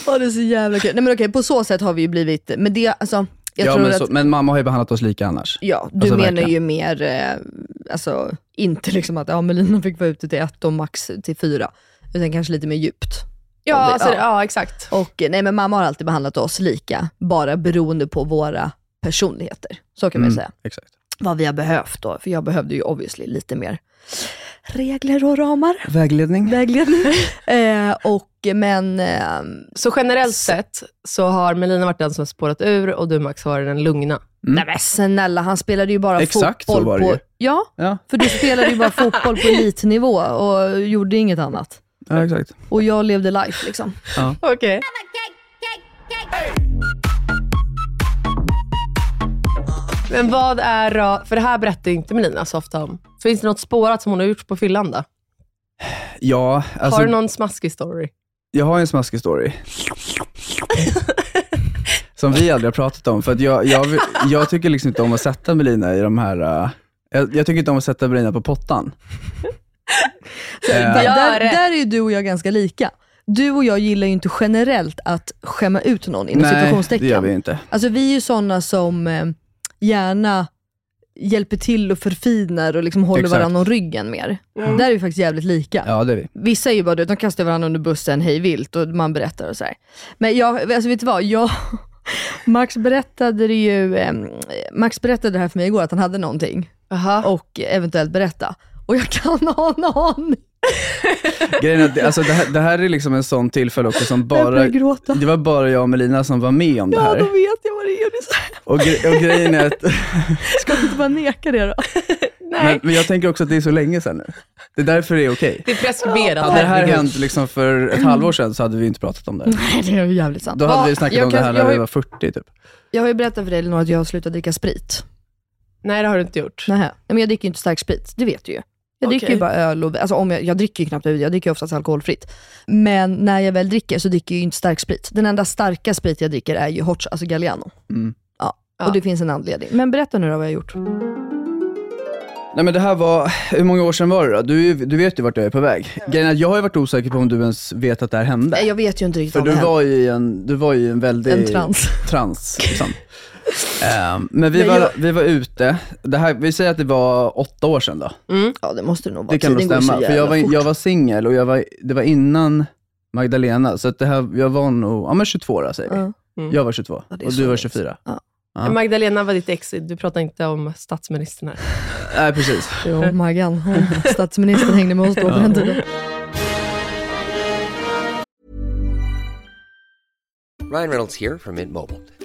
[SPEAKER 2] Ja, det är så jävla kul. Nej men okej, på så sätt har vi ju blivit, men det, alltså, jag
[SPEAKER 4] ja,
[SPEAKER 2] tror
[SPEAKER 4] men,
[SPEAKER 2] att,
[SPEAKER 4] så, men mamma har ju behandlat oss lika annars.
[SPEAKER 2] ja, du
[SPEAKER 4] alltså,
[SPEAKER 2] menar
[SPEAKER 4] verkligen.
[SPEAKER 2] ju mer, eh, alltså inte liksom att ja, Melina fick vara ute till ett och max till fyra, utan kanske lite mer djupt.
[SPEAKER 6] Ja,
[SPEAKER 2] Om det-
[SPEAKER 6] alltså,
[SPEAKER 2] ja.
[SPEAKER 6] ja. ja, exakt.
[SPEAKER 2] Och eh, nej men mamma har alltid behandlat oss lika, bara beroende på våra personligheter. Så kan man ju
[SPEAKER 4] Mm,
[SPEAKER 2] säga.
[SPEAKER 4] Exakt.
[SPEAKER 2] Vad vi har behövt då, för jag behövde ju obviously lite mer regler och ramar,
[SPEAKER 4] Vägledning?
[SPEAKER 2] vägledning. eh, och men, ehm,
[SPEAKER 6] Så generellt sett så har Melina varit den som spårat ur och du Max har varit den lugna.
[SPEAKER 2] Nej men snälla, han spelade ju bara
[SPEAKER 4] Exakt så
[SPEAKER 2] fotboll
[SPEAKER 4] var det
[SPEAKER 2] på...
[SPEAKER 4] ju.
[SPEAKER 2] Ja,
[SPEAKER 4] Ja.
[SPEAKER 2] för du spelade ju bara fotboll på elitnivå och gjorde inget annat.
[SPEAKER 4] ja, exakt.
[SPEAKER 2] Och jag levde life liksom.
[SPEAKER 6] Okej. Men vad är då, för det här berättar ju inte Melina så ofta om. Finns det något spårat som hon har gjort på fyllan då?
[SPEAKER 4] Ja, alltså,
[SPEAKER 6] har du någon smaskig story?
[SPEAKER 4] jag har ju en smaskig story. Som vi aldrig har pratat om, för att jag, jag, vill- jag tycker liksom inte om att sätta Melina i de här... äh, jag, jag tycker inte om att sätta Melina på pottan.
[SPEAKER 2] Där,
[SPEAKER 4] Eh,
[SPEAKER 2] där, där är ju du och jag ganska lika. Du och jag gillar ju inte generellt att skämma ut någon inom
[SPEAKER 4] nej, det gör
[SPEAKER 2] situationstecken.
[SPEAKER 4] vi inte.
[SPEAKER 2] Alltså vi är ju sådana som eh, gärna hjälper till och förfinar och liksom håller
[SPEAKER 4] Exakt.
[SPEAKER 2] varandra om ryggen mer. Där är vi faktiskt jävligt lika.
[SPEAKER 4] Ja, det är vi.
[SPEAKER 2] Vissa är ju bara du vet, de kastar varandra under bussen hej vilt och man berättar och så här. Men jag, alltså vet du vad? Jag, Max berättade det ju, ehm, Max berättade det här för mig igår, att han hade någonting
[SPEAKER 6] Aha.
[SPEAKER 2] och eventuellt berätta. Och jag kan ha en aning.
[SPEAKER 4] Grejen är att det, alltså det, här, det här är liksom en sån tillfälle också som
[SPEAKER 2] Jag
[SPEAKER 4] bara...
[SPEAKER 2] börjar gråta.
[SPEAKER 4] Det var bara jag och Melina som var med om det
[SPEAKER 2] Ja,
[SPEAKER 4] här.
[SPEAKER 2] då vet jag vad det är. Det är så här.
[SPEAKER 4] Och, gre- och grejen är att...
[SPEAKER 2] Ska vi inte bara neka det då?
[SPEAKER 4] Men, men jag tänker också att det är så länge sedan nu. Det är därför det är okej.
[SPEAKER 6] Det är preskriberat.
[SPEAKER 4] Hade det här
[SPEAKER 6] herregud.
[SPEAKER 4] hänt liksom för ett halvår sedan så hade vi inte pratat om det.
[SPEAKER 2] Nej, det är ju jävligt sant.
[SPEAKER 4] Då
[SPEAKER 2] Ja,
[SPEAKER 4] hade vi snackat
[SPEAKER 2] jag
[SPEAKER 4] om det
[SPEAKER 2] kan-
[SPEAKER 4] här
[SPEAKER 2] jag,
[SPEAKER 4] när
[SPEAKER 2] har
[SPEAKER 4] vi
[SPEAKER 2] ju,
[SPEAKER 4] var 40 typ.
[SPEAKER 2] jag har ju berättat för dig Elinor att jag har slutat dricka sprit.
[SPEAKER 6] Nej, det har du inte gjort.
[SPEAKER 2] Nähä. Nej, men jag dricker ju inte stark sprit, det vet du ju. Jag dricker ju
[SPEAKER 6] Okej.
[SPEAKER 2] bara öl och alltså om jag, jag dricker ju knappt öl, jag dricker ju oftast alkoholfritt. Men när jag väl dricker så dricker jag ju inte stark sprit. Den enda starka sprit jag dricker är ju hot, alltså Galliano.
[SPEAKER 4] Mm.
[SPEAKER 2] Ja,
[SPEAKER 6] Ja.
[SPEAKER 2] och det finns en anledning. Men berätta nu då vad jag har gjort.
[SPEAKER 4] Nej men det här var, hur många år sedan var det då? Du, du vet ju vart jag är på väg. Grejen är att jag har ju varit osäker på om du ens vet att det här hände.
[SPEAKER 2] Nej, jag vet ju inte riktigt
[SPEAKER 4] För
[SPEAKER 2] vad
[SPEAKER 4] du
[SPEAKER 2] det
[SPEAKER 4] var ju i en, du var ju i en väldigt...
[SPEAKER 2] En trans.
[SPEAKER 4] trans liksom. Ehm, men vi
[SPEAKER 2] Men
[SPEAKER 4] var,
[SPEAKER 2] jag-
[SPEAKER 4] vi var ute, det här, vi säger att det var åtta år sedan då.
[SPEAKER 2] Ja, det måste det nog vara.
[SPEAKER 4] Det kan nog
[SPEAKER 2] Tiden går
[SPEAKER 4] stämma,
[SPEAKER 2] så
[SPEAKER 4] för jag
[SPEAKER 2] jävla
[SPEAKER 4] var,
[SPEAKER 2] fort.
[SPEAKER 4] jag var singel och jag var, det var innan Magdalena, så att det här, jag var nog, ja men 22 då säger vi.
[SPEAKER 2] Ja.
[SPEAKER 6] Mm.
[SPEAKER 4] Jag var 22
[SPEAKER 2] Ja, det är
[SPEAKER 4] och
[SPEAKER 2] så
[SPEAKER 4] du var
[SPEAKER 2] roligt.
[SPEAKER 4] 24. Ja.
[SPEAKER 6] Ja. Magdalena var ditt ex, du pratar inte om statsministern här.
[SPEAKER 4] Nej precis.
[SPEAKER 2] Jo, Maggan. hon- Statsministern hängde med oss då på den tiden.
[SPEAKER 8] Ryan Reynolds here from Mint Mobile.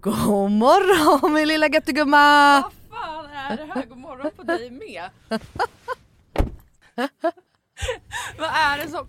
[SPEAKER 2] God morgon min lilla göttegumma!
[SPEAKER 3] fan är det här? God morgon på dig med. vad, är det som,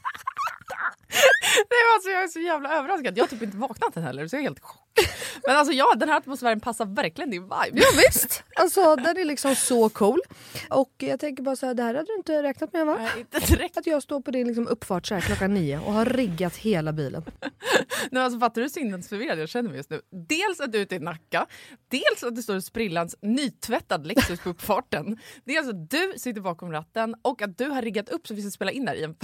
[SPEAKER 3] Nej, men alltså, jag är så jävla överraskad, jag har typ inte vaknat än heller så jag är helt i chock. Men alltså ja, den här atmosfären passar verkligen din vibe.
[SPEAKER 2] Ja, visst, alltså den är liksom så cool. Och jag tänker bara så här, det här hade du inte räknat med va?
[SPEAKER 3] Nej, inte direkt.
[SPEAKER 2] Att jag står på din liksom uppfart så här klockan nio och har riggat hela bilen.
[SPEAKER 3] Nej, alltså, fattar du hur sinnesförvirrad jag känner mig just nu? Dels att du är ute i Nacka, dels att det står sprillans nytvättad Lexus på uppfarten. Dels att du sitter bakom ratten och att du har riggat upp så vi ska spela in där i en,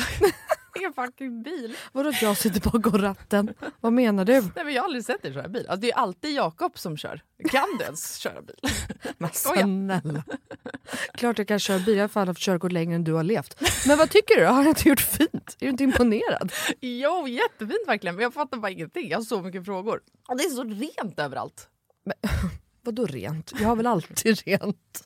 [SPEAKER 3] i en fucking bil.
[SPEAKER 2] Vadå att jag sitter bakom ratten? Vad menar du?
[SPEAKER 3] Nej, men jag har aldrig sett dig köra bil. Alltså, det är alltid Jakob som kör. Kan du ens köra bil?
[SPEAKER 2] Men
[SPEAKER 3] Skoja.
[SPEAKER 2] snälla. Klart jag kan köra bil, jag har fan haft körkort längre än du har levt. Men vad tycker du? Har jag inte gjort fint? Är du inte imponerad?
[SPEAKER 3] Jo, jättefint verkligen. Men jag fattar bara ingenting. Jag har så mycket frågor. Och det är så rent överallt.
[SPEAKER 2] Vadå rent? Jag har väl alltid rent.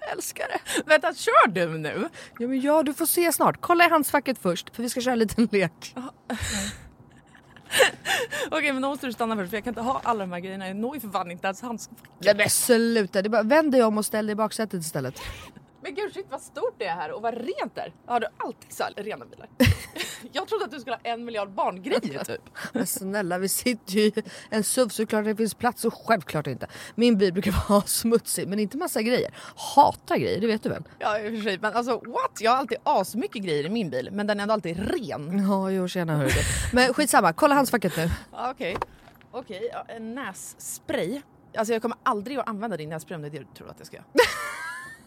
[SPEAKER 3] Jag älskar det. Vänta, kör du nu?
[SPEAKER 2] Ja, men ja, du får se snart. Kolla i handskfacket först, för vi ska köra en liten lek.
[SPEAKER 3] Okej, men då måste du stanna först för jag kan inte ha alla de här grejerna. Jag når ju för fan inte ens hans...
[SPEAKER 2] Nej men sluta, det är bara, vänd dig om och ställ dig i baksätet istället.
[SPEAKER 3] Men gud shit vad stort det är här och vad rent det är. Har du alltid så här rena bilar? jag trodde att du skulle ha en miljard barngrejer typ.
[SPEAKER 2] Men snälla, vi sitter ju i en SUV såklart det finns plats och självklart inte. Min bil brukar vara smutsig men inte massa grejer. Hata grejer, det vet du väl?
[SPEAKER 3] Ja i och för sig, men alltså what? Jag har alltid asmycket grejer i min bil men den är ändå alltid ren.
[SPEAKER 2] Ja, jo tjena hörru du. Men skitsamma, kolla handskfacket nu.
[SPEAKER 3] Ja, Okej, okej, ja, en nässpray. Alltså jag kommer aldrig att använda din nässpray om det är det du tror att jag ska göra.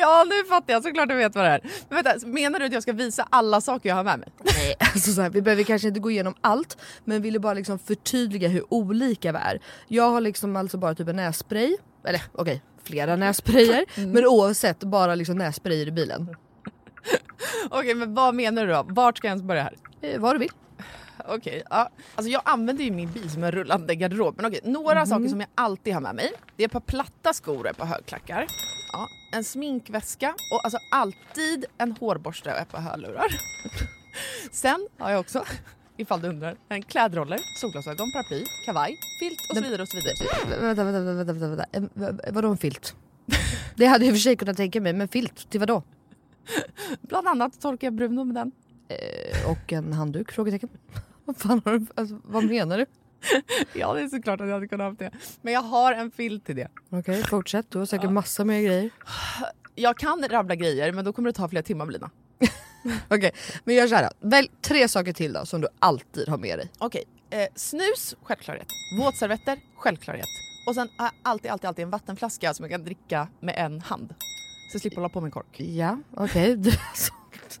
[SPEAKER 3] Ja nu fattar jag, såklart du vet vad det är. Men vänta, menar du att jag ska visa alla saker jag har med mig?
[SPEAKER 2] Nej, alltså så här, vi behöver kanske inte gå igenom allt men ville bara liksom förtydliga hur olika vi är. Jag har liksom alltså bara typ en nässpray, eller okej flera nässprayer
[SPEAKER 7] Mm.
[SPEAKER 2] men oavsett bara liksom nässprayer i bilen.
[SPEAKER 3] Okej men vad menar du då? Vart ska jag ens börja här?
[SPEAKER 2] Eh, vad du vill.
[SPEAKER 3] Okej, ja. Alltså jag använder ju min bil som en rullande garderob. Men okej, några saker som jag alltid har med mig. Det är ett par platta skor och ett par högklackar. Ja, en sminkväska och alltså alltid en hårborste och ett par hörlurar. Sen har jag också, ifall du undrar, en klädroller, solglasögon, paraply, kavaj, filt och så vidare och så vidare.
[SPEAKER 7] Vänta, vänta, vänta, vänta, vänta. Eh, v- Vadå en filt? Det hade jag i och för sig kunnat tänka mig, men filt till vadå?
[SPEAKER 3] Bland annat torkar jag Bruno med den.
[SPEAKER 7] Eh, Och en handduk? Frågetecken. Vad fan har du, alltså, vad menar du?
[SPEAKER 3] Ja, det är såklart att jag hade kunnat ha haft det. Men jag har en filt till det.
[SPEAKER 7] Okej, fortsätt. Du har säkert massa mer grejer.
[SPEAKER 3] Jag kan rabbla grejer, men då kommer det ta flera timmar Lina.
[SPEAKER 7] Okej, men gör såhär. Välj tre saker till då som du alltid har med dig.
[SPEAKER 3] Okej, eh, snus, självklarhet. Våtservetter, självklarhet. Och sen har jag alltid, alltid, alltid en vattenflaska som jag kan dricka med en hand. Så jag slipper hålla på med en kork.
[SPEAKER 7] Ja, okej. Du- sånt.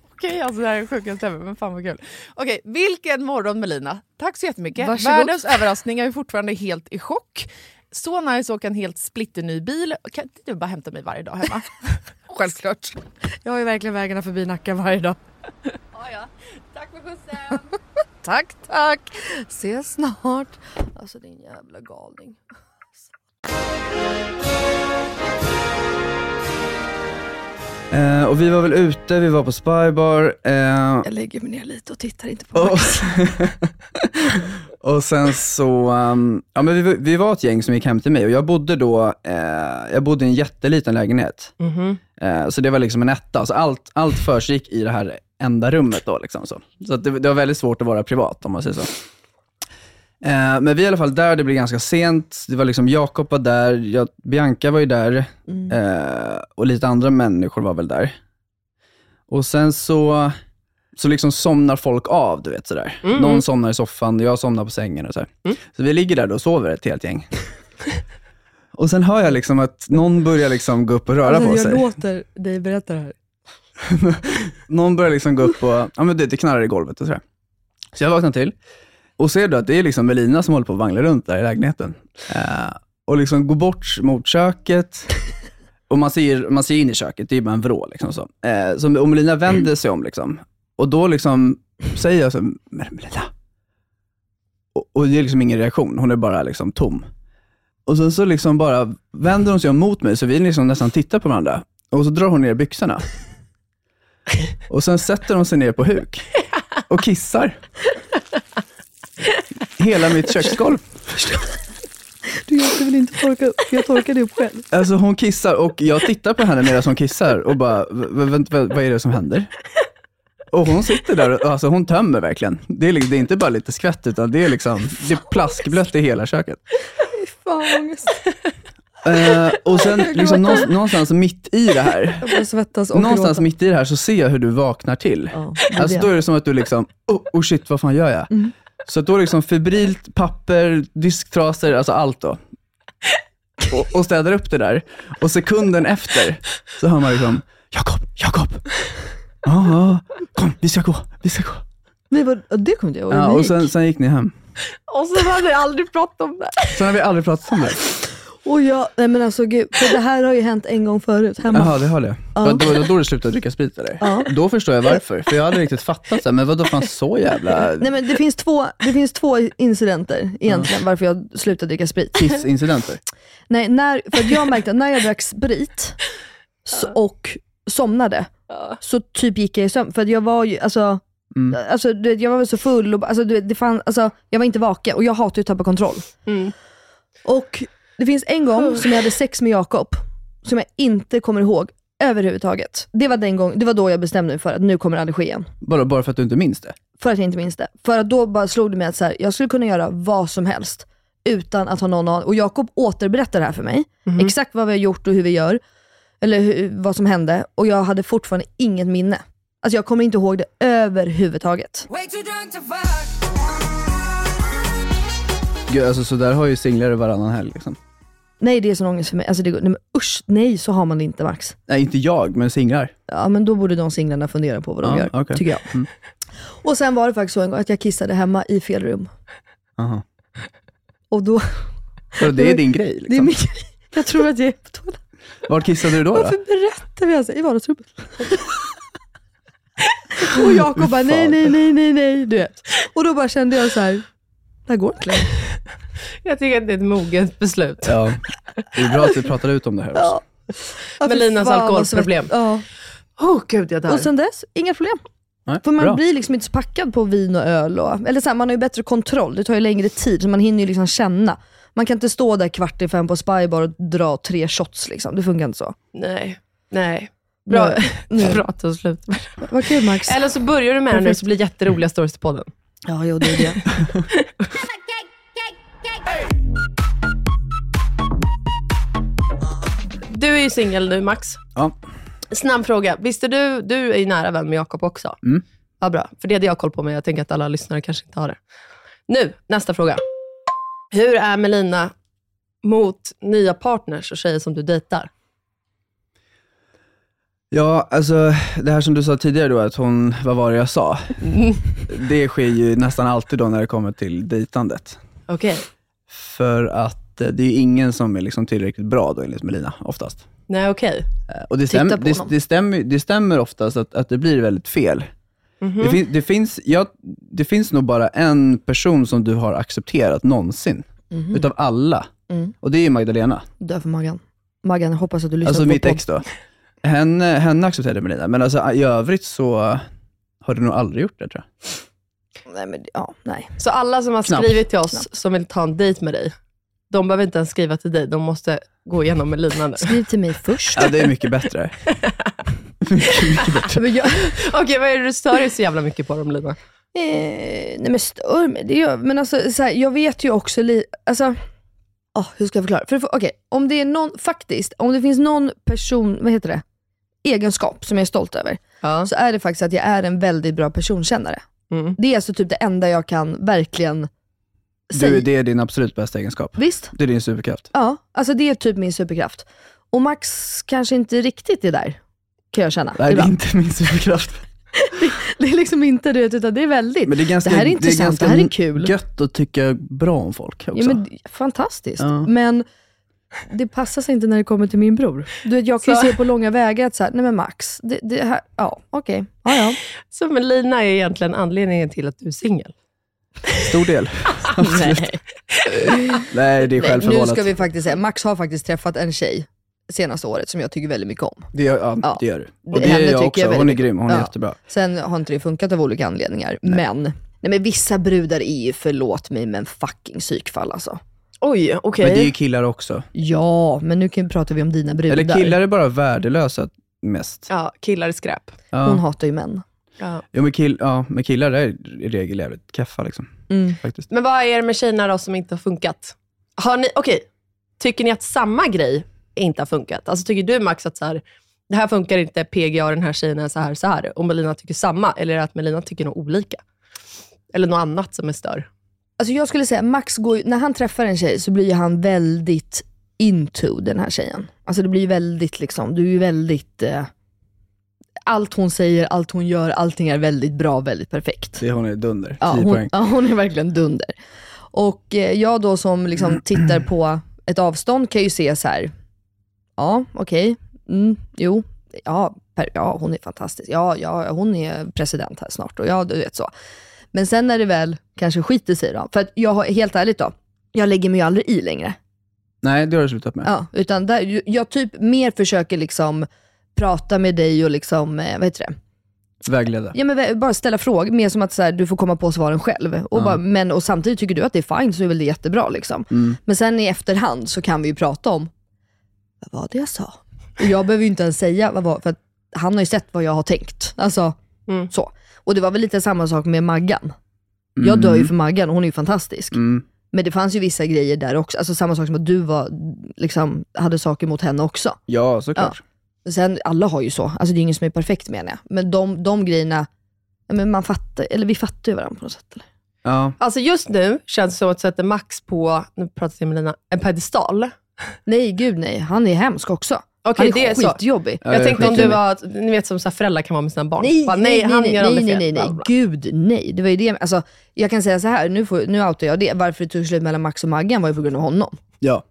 [SPEAKER 3] Okej, alltså det här är sjukast ever, men fan vad kul. Okej, vilken morgon Melina. Tack så jättemycket.
[SPEAKER 7] Varsågod.
[SPEAKER 3] Världens överraskning, jag är fortfarande helt i chock. Så nice att åka en helt splitterny bil. Kan inte du bara hämta mig varje dag hemma?
[SPEAKER 7] Självklart. Jag har ju verkligen vägarna förbi Nacka varje dag. Ja, Tack för skjutsen. tack, tack. Ses snart. Alltså din jävla galning.
[SPEAKER 4] Eh, och vi var väl ute, vi var på Spybar. Eh,
[SPEAKER 7] Jag lägger mig ner lite och tittar inte på
[SPEAKER 4] och, och sen så, ehm, ja men vi, vi var ett gäng som gick hem till mig och jag bodde då, eh, jag bodde i en jätteliten lägenhet. Eh, så det var liksom en etta. Så allt, allt försiggick i det här enda rummet då. Liksom så så att det, det var väldigt svårt att vara privat om man säger så. Eh, men vi i alla fall där, det blev ganska sent. Det var liksom Jakob var där, jag, Bianca var ju där eh, och lite andra människor var väl där. Och sen så, så liksom somnar folk av, du vet sådär. Någon somnar i soffan, jag somnar på sängen och så. Så vi ligger där då och sover ett helt gäng. och sen hör jag liksom att någon börjar liksom gå upp och röra på sig.
[SPEAKER 2] Alltså, låter dig berätta det här.
[SPEAKER 4] någon börjar liksom gå upp och, ja men det, det knarrar i golvet och sådär. Så jag vaknar till och ser då att det är liksom Melina som håller på och vanglar runt där i lägenheten. Eh, och liksom går bort mot köket. Och man ser, man ser in i köket, det är ju bara en vrå. Liksom så. Eh, så, och Melina vänder sig om. Liksom. Och då liksom säger jag så, "Men Melina. Och, och det är liksom ingen reaktion, hon är bara liksom tom. Och sen så liksom bara vänder hon sig om mot mig, så vi liksom nästan tittar på varandra. Och så drar hon ner byxorna. Och sen sätter hon sig ner på huk och kissar. Hela mitt köksgolv.
[SPEAKER 2] Du hjälpte väl inte torka upp? Jag torkade upp själv.
[SPEAKER 4] Alltså hon kissar och jag tittar på henne medan hon kissar och bara, "V- v- vänt, vad vad är det som händer? Och hon sitter där och alltså hon tömmer verkligen. Det är, li- det är inte bara lite skvätt utan det är liksom, det är plaskblött i hela köket.
[SPEAKER 2] Fan ångest.
[SPEAKER 4] Eh, och sen liksom någonstans, någonstans mitt i det här,
[SPEAKER 2] Jag börjar svettas och
[SPEAKER 4] någonstans
[SPEAKER 2] gråta.
[SPEAKER 4] mitt i det här så ser jag hur du vaknar till.
[SPEAKER 2] Ja,
[SPEAKER 4] Alltså då är det som att du liksom, oh, oh shit, vad fan gör jag?
[SPEAKER 2] Mm.
[SPEAKER 4] Så att då liksom febrilt, papper, disktrasor, alltså allt då. Och, och städar upp det där. Och sekunden efter så hör man liksom, Jakob, Jakob! Ja, ja, kom, vi ska gå, vi ska gå.
[SPEAKER 2] Nej, vad, ja, det kunde jag ihåg.
[SPEAKER 4] Ja,
[SPEAKER 2] Ni
[SPEAKER 4] och
[SPEAKER 2] gick.
[SPEAKER 4] sen, sen gick ni hem.
[SPEAKER 6] Och så hade jag aldrig pratat om det.
[SPEAKER 4] Sen har vi aldrig pratat om det.
[SPEAKER 2] och jag, nej men alltså gud, för det här har ju hänt en gång förut hemma.
[SPEAKER 4] Jaha, det har det. Ja. Då, då, då du slutade dricka sprit eller? Då förstår jag varför. För jag hade riktigt fattat, så här, men vadå fan så jävla
[SPEAKER 2] Nej men det finns två, det finns två incidenter egentligen varför jag slutade dricka sprit.
[SPEAKER 4] pissincidenter?
[SPEAKER 2] Nej, när, för att jag märkte att när jag drack sprit s- och somnade, så typ gick jag i sömn. För att jag var ju, alltså, alltså du vet, jag var väl så full och alltså, du vet, det fann, alltså, jag var inte vaken och jag hatar ju att tappa kontroll. Och det finns en gång som jag hade sex med Jakob, som jag inte kommer ihåg Överhuvudtaget. Det var, den gång, det var då jag bestämde mig för att nu kommer det aldrig ske igen.
[SPEAKER 4] Bara, bara för att du inte minns det?
[SPEAKER 2] För att jag inte minns det. För att då bara slog det mig att så här, jag skulle kunna göra vad som helst utan att ha någon aning. Och Jakob återberättar det här för mig.
[SPEAKER 4] Mhm.
[SPEAKER 2] Exakt vad vi har gjort och hur vi gör. Eller hur, vad som hände. Och jag hade fortfarande inget minne. Alltså jag kommer inte ihåg det överhuvudtaget.
[SPEAKER 4] Gud, alltså, så där har ju singlare varannan helg. Liksom.
[SPEAKER 2] Nej, det är sån ångest för mig. Alltså det går, nej, men usch, nej så har man det inte Max.
[SPEAKER 4] Nej, inte jag, men singlar.
[SPEAKER 2] Ja, men då borde de singlarna fundera på vad de
[SPEAKER 4] Ja,
[SPEAKER 2] gör,
[SPEAKER 4] okej.
[SPEAKER 2] tycker jag.
[SPEAKER 4] Mm.
[SPEAKER 2] Och sen var det faktiskt så en gång att jag kissade hemma i fel rum.
[SPEAKER 4] Aha.
[SPEAKER 2] Och då,
[SPEAKER 4] Och det är din grej? Liksom.
[SPEAKER 2] det är mycket, jag tror att jag är på toaletten.
[SPEAKER 4] Vart kissade du då? då?
[SPEAKER 2] Varför berättar vi ens det? i vardagsrummet? och Jakob bara, nej, nej, nej, nej, nej, du vet. Och då bara kände jag så här, det här går inte längre.
[SPEAKER 6] Jag tycker att det är ett moget beslut.
[SPEAKER 4] Ja. Det är bra att vi pratar ut om det här också.
[SPEAKER 2] Ja. Ja, fy
[SPEAKER 6] Melinas
[SPEAKER 2] fan, vad
[SPEAKER 6] alkoholproblem.
[SPEAKER 2] svett- Ja.
[SPEAKER 6] Åh gud, jag dör.
[SPEAKER 2] Och sen dess, inga problem.
[SPEAKER 4] Nej,
[SPEAKER 2] För man
[SPEAKER 4] bra.
[SPEAKER 2] blir liksom inte så packad på vin och öl. Och, eller så här, man har ju bättre kontroll, det tar ju längre tid, så man hinner ju liksom känna. Man kan inte stå där kvart i fem på Spybar och dra tre shots. Liksom. Det funkar inte så.
[SPEAKER 6] Nej, nej. Bra,
[SPEAKER 2] Nej.
[SPEAKER 6] bra att du slutar.
[SPEAKER 2] Vad kul Max.
[SPEAKER 6] Eller så börjar du med det nu, så blir det jätteroliga stories till podden.
[SPEAKER 2] Ja, jo, det är det.
[SPEAKER 6] Du är ju singel nu, Max.
[SPEAKER 4] Ja.
[SPEAKER 6] Snabb fråga. Visste du, du är ju nära vän med Jakob också.
[SPEAKER 4] Mm.
[SPEAKER 6] Vad bra, för det hade jag koll på, men jag tänker att alla lyssnare kanske inte har det. Nu, nästa fråga. Hur är Melina mot nya partners och tjejer som du dejtar?
[SPEAKER 4] Ja, alltså det här som du sa tidigare då, att hon, vad var det jag sa? Det sker ju nästan alltid då när det kommer till dejtandet.
[SPEAKER 6] Okej.
[SPEAKER 4] För att eh, det är ju ingen som är liksom tillräckligt bra då enligt Melina, oftast.
[SPEAKER 6] Nej, okej.
[SPEAKER 4] Eh, Och det,
[SPEAKER 2] Titta
[SPEAKER 4] stäm,
[SPEAKER 2] på
[SPEAKER 4] det,
[SPEAKER 2] honom.
[SPEAKER 4] det, stämmer, det stämmer oftast att, att det blir väldigt fel.
[SPEAKER 2] Mhm.
[SPEAKER 4] Det, fin, det, finns, ja, det finns nog bara en person som du har accepterat någonsin,
[SPEAKER 2] Mhm.
[SPEAKER 4] utav alla. Och det är Magdalena.
[SPEAKER 2] Dö för Maggan. Maggan, jag hoppas att du lyssnar
[SPEAKER 4] Alltså
[SPEAKER 2] Mm. på
[SPEAKER 4] mitt
[SPEAKER 2] podd.
[SPEAKER 4] ex då. Henne, henne accepterade Melina, men alltså, i övrigt så har du nog aldrig gjort det tror jag.
[SPEAKER 2] Nej, men, ja, nej.
[SPEAKER 6] Så alla som har
[SPEAKER 4] Knappt.
[SPEAKER 6] skrivit till oss som vill ta en dejt med dig, de behöver inte ens skriva till dig. De måste gå igenom Melina nu.
[SPEAKER 2] Skriv till mig först.
[SPEAKER 4] Ja, det är mycket bättre. mycket, mycket bättre.
[SPEAKER 2] Men jag,
[SPEAKER 6] Okej, vad är det du stör dig så jävla mycket på då, Melina?
[SPEAKER 2] Eh, nej men stör mig, det gör Men alltså, så här, jag vet ju också li- alltså, ah, hur ska jag förklara? För, det för, okej, om det är någon, faktiskt, om det finns någon person, vad heter det? Egenskap som jag är stolt över,
[SPEAKER 6] Ja.
[SPEAKER 2] så är det faktiskt att jag är en väldigt bra personkännare.
[SPEAKER 6] Mm.
[SPEAKER 2] Det är alltså typ det enda jag kan verkligen säga.
[SPEAKER 4] Du, det är din absolut bästa egenskap.
[SPEAKER 2] Visst?
[SPEAKER 4] Det är din superkraft.
[SPEAKER 2] Ja, alltså det är typ min superkraft. Och Max kanske inte riktigt är där, kan jag känna.
[SPEAKER 4] Nej, det är
[SPEAKER 2] ibland.
[SPEAKER 4] inte min superkraft.
[SPEAKER 2] det är liksom inte det, utan det är väldigt.
[SPEAKER 4] Men det, är ganska,
[SPEAKER 2] det här är intressant, det,
[SPEAKER 4] ganska
[SPEAKER 2] här är kul.
[SPEAKER 4] gött att tycka bra om folk också.
[SPEAKER 2] Ja, men, det- fantastiskt.
[SPEAKER 4] Ja.
[SPEAKER 2] Men det passar sig inte när det kommer till min bror. Du vet, jag kan ju
[SPEAKER 6] Så-
[SPEAKER 2] se på långa vägar att så här, nej men Max, det, det här, ja okej. Ja, ja.
[SPEAKER 6] Så Melina är egentligen anledningen till att du är singel?
[SPEAKER 4] Stor del.
[SPEAKER 6] Nej.
[SPEAKER 4] Nej, det
[SPEAKER 2] Nej,
[SPEAKER 4] är
[SPEAKER 2] nu
[SPEAKER 4] självförvållat.
[SPEAKER 2] ska vi faktiskt säga, Max har faktiskt träffat en tjej senaste året som jag tycker väldigt mycket om.
[SPEAKER 4] Det, gör- ja,
[SPEAKER 2] Ja.
[SPEAKER 4] det gör du. Och
[SPEAKER 2] Det-
[SPEAKER 4] det
[SPEAKER 2] henne
[SPEAKER 4] är jag
[SPEAKER 2] tycker
[SPEAKER 4] också.
[SPEAKER 2] jag
[SPEAKER 4] hon är
[SPEAKER 2] väldigt-
[SPEAKER 4] grym. Hon är
[SPEAKER 2] Ja.
[SPEAKER 4] jättebra.
[SPEAKER 2] Sen har inte det funkat av olika anledningar, men, nej, men vissa brudar är ju, förlåt mig, men fucking psykfall alltså.
[SPEAKER 6] Oj, okej.
[SPEAKER 4] Men det är ju killar också.
[SPEAKER 2] Ja, men nu kan, pratar vi om dina brudar.
[SPEAKER 4] Eller killar är bara värdelösa mest.
[SPEAKER 6] Ja, killar är skräp.
[SPEAKER 4] Ja.
[SPEAKER 2] Hon hatar ju män.
[SPEAKER 6] Ja.
[SPEAKER 4] Jo, men, kill, ja, men killar är i regel jävligt keffa liksom.
[SPEAKER 2] Mm.
[SPEAKER 4] Faktiskt.
[SPEAKER 6] Men vad är det med tjejerna då som inte har funkat? Har ni, okej, tycker ni att samma grej inte har funkat? Alltså tycker du Max att så här, det här funkar inte, PGA, den här tjejen är så här, så här. Och Melina tycker samma, eller är det att Melina tycker något olika? Eller något annat som är större?
[SPEAKER 2] Alltså jag skulle säga, Max går ju, när han träffar en tjej så blir ju han väldigt into den här tjejen. Alltså det blir ju väldigt liksom, du är ju väldigt, eh, allt hon säger, allt hon gör, allting är väldigt bra, väldigt perfekt.
[SPEAKER 4] Det hon är dunder.
[SPEAKER 2] Ja,
[SPEAKER 4] 10
[SPEAKER 2] hon,
[SPEAKER 4] poäng.
[SPEAKER 2] ja, hon är verkligen dunder. Och eh, jag då som liksom tittar på ett avstånd kan ju se så här. ja okej, mm, jo, ja, per, ja hon är fantastisk, ja, ja hon är president här snart och ja du vet så. Men sen när det väl kanske skiter sig då, för att jag har, helt ärligt då, jag lägger mig ju aldrig i längre.
[SPEAKER 4] Nej, det har du slutat med.
[SPEAKER 2] Ja, utan där, ju- jag typ mer försöker liksom prata med dig och liksom, eh, vad heter det?
[SPEAKER 4] Vägleda.
[SPEAKER 2] Ja, men vä- bara ställa frågor, mer som att så här, du får komma på svaren själv. Och, bara, men, och samtidigt tycker du att det är fine så är väl det jättebra. Liksom. Men sen i efterhand så kan vi ju prata om, vad var det jag sa? Och jag behöver ju inte ens säga vad, vad för att han har ju sett vad jag har tänkt. Alltså, så. Och det var väl lite samma sak med Maggan. Jag dör ju för Maggan och hon är ju fantastisk.
[SPEAKER 4] Mm.
[SPEAKER 2] Men det fanns ju vissa grejer där också. Alltså samma sak som att du var, liksom, hade saker mot henne också.
[SPEAKER 4] Ja, såklart.
[SPEAKER 2] Sen, alla har ju så. Alltså det är ingen som är perfekt menar jag. Men de, de grejerna, ja, men man fattar, eller vi fattar ju varandra på något sätt. Eller?
[SPEAKER 4] Ja.
[SPEAKER 6] Alltså just nu känns det som att du sätter Max på, nu pratar jag med Lina, en pedestal.
[SPEAKER 2] Nej, gud nej. Han är hemsk också.
[SPEAKER 6] Okej,
[SPEAKER 2] han är,
[SPEAKER 6] det är så.
[SPEAKER 2] skitjobbig.
[SPEAKER 4] Ja,
[SPEAKER 6] jag
[SPEAKER 4] det är
[SPEAKER 6] tänkte om du
[SPEAKER 4] skitjobbigt.
[SPEAKER 6] var, ni vet som så här föräldrar kan vara med sina barn.
[SPEAKER 2] Nej,
[SPEAKER 6] Bara,
[SPEAKER 2] nej, nej,
[SPEAKER 6] han
[SPEAKER 2] nej,
[SPEAKER 6] gör
[SPEAKER 2] nej,
[SPEAKER 6] aldrig
[SPEAKER 2] nej,
[SPEAKER 6] fel,
[SPEAKER 2] nej, nej,
[SPEAKER 6] bla, bla.
[SPEAKER 2] gud nej. Det var ju det, alltså, jag kan säga så här, nu, får, nu outar jag det. Varför det tog slut mellan Max och Maggan var ju på grund av honom.
[SPEAKER 4] ja,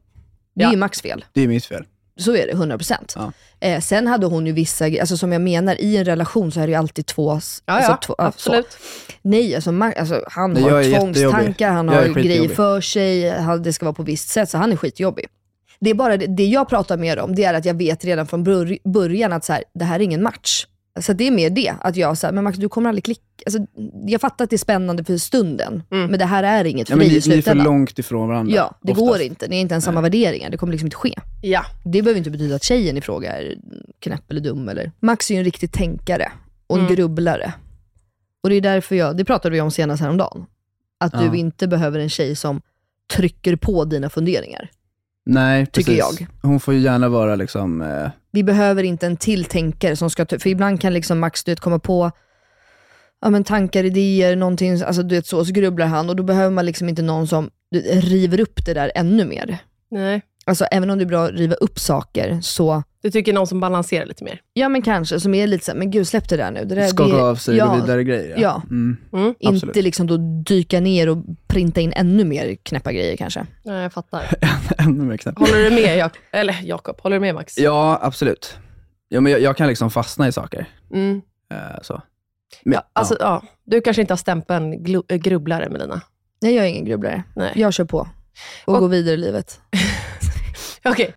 [SPEAKER 2] Det är
[SPEAKER 6] Ja.
[SPEAKER 2] ju Max fel.
[SPEAKER 4] det är mitt fel.
[SPEAKER 2] Så är det, 100%. procent.
[SPEAKER 4] Ja.
[SPEAKER 2] Eh, sen hade hon ju vissa gre- alltså som jag menar, i en relation så är det ju alltid två... s-
[SPEAKER 6] Ja,
[SPEAKER 2] alltså,
[SPEAKER 6] ja,
[SPEAKER 2] två, ja, så.
[SPEAKER 6] absolut.
[SPEAKER 2] Nej, alltså, Max, alltså han
[SPEAKER 4] Nej, jag är
[SPEAKER 2] har
[SPEAKER 4] jättejobbig.
[SPEAKER 2] tvångstankar, han
[SPEAKER 4] Jag
[SPEAKER 2] har
[SPEAKER 4] är
[SPEAKER 2] grejer
[SPEAKER 4] skitjobbig.
[SPEAKER 2] för sig, han, det ska vara på visst sätt, så han är skitjobbig. Det är bara det, det jag pratar mer om, det är att jag vet redan från bur- början att så här, det här är ingen match. Så det är mer det, att jag säger, men Max du kommer aldrig klicka. Alltså, jag fattar att det är spännande för stunden, men det här är inget för
[SPEAKER 4] Ja, men
[SPEAKER 2] dig i
[SPEAKER 4] ni, ni är för
[SPEAKER 2] slutändan.
[SPEAKER 4] långt ifrån varandra.
[SPEAKER 2] ja, det
[SPEAKER 4] oftast.
[SPEAKER 2] går inte, ni är inte ens samma värderingar, det kommer liksom inte ske.
[SPEAKER 6] Ja.
[SPEAKER 2] Det behöver inte betyda att tjejen i fråga är knäpp eller dum. Eller. Max är ju en riktig tänkare och en grubblare. Och det är därför jag, det pratade vi om senast häromdagen, att
[SPEAKER 4] Ja.
[SPEAKER 2] du inte behöver en tjej som trycker på dina funderingar.
[SPEAKER 4] Nej,
[SPEAKER 2] Tycker
[SPEAKER 4] precis. Hon får ju gärna vara liksom, eh,
[SPEAKER 2] Vi behöver inte en till tänkare som ska, för ibland kan liksom Max du vet, komma på ja, men tankar, idéer, någonting, alltså, du vet, så, så grubblar han och då behöver man liksom inte någon som du, vet, river upp det där ännu mer.
[SPEAKER 6] Nej.
[SPEAKER 2] Alltså även om det är bra att riva upp saker så
[SPEAKER 6] Du tycker någon som balanserar lite mer.
[SPEAKER 2] Ja men kanske, som är lite såhär, men gud släpp det där nu. Det där,
[SPEAKER 4] skaka
[SPEAKER 2] det,
[SPEAKER 4] av sig och
[SPEAKER 2] ja,
[SPEAKER 4] gå vidare grejer.
[SPEAKER 2] ja.
[SPEAKER 4] Mm.
[SPEAKER 6] Mm.
[SPEAKER 4] absolut.
[SPEAKER 2] Inte liksom då dyka ner och printa in ännu mer knäppa grejer kanske.
[SPEAKER 6] Ja, jag fattar.
[SPEAKER 4] Ännu mer knäppt.
[SPEAKER 6] Håller du med Jakob? Eller Jakob, håller du med Max?
[SPEAKER 4] Ja, absolut. Ja, men jag, jag kan liksom fastna i saker.
[SPEAKER 6] Mm.
[SPEAKER 4] Eh, så. Men,
[SPEAKER 6] Ja, alltså, ja. Du kanske inte har stämpeln glu- äh, grubblare Melina?
[SPEAKER 2] Nej jag är ingen grubblare.
[SPEAKER 6] Nej.
[SPEAKER 2] Jag kör på och,
[SPEAKER 6] Och-
[SPEAKER 2] går vidare i livet.
[SPEAKER 6] Okej.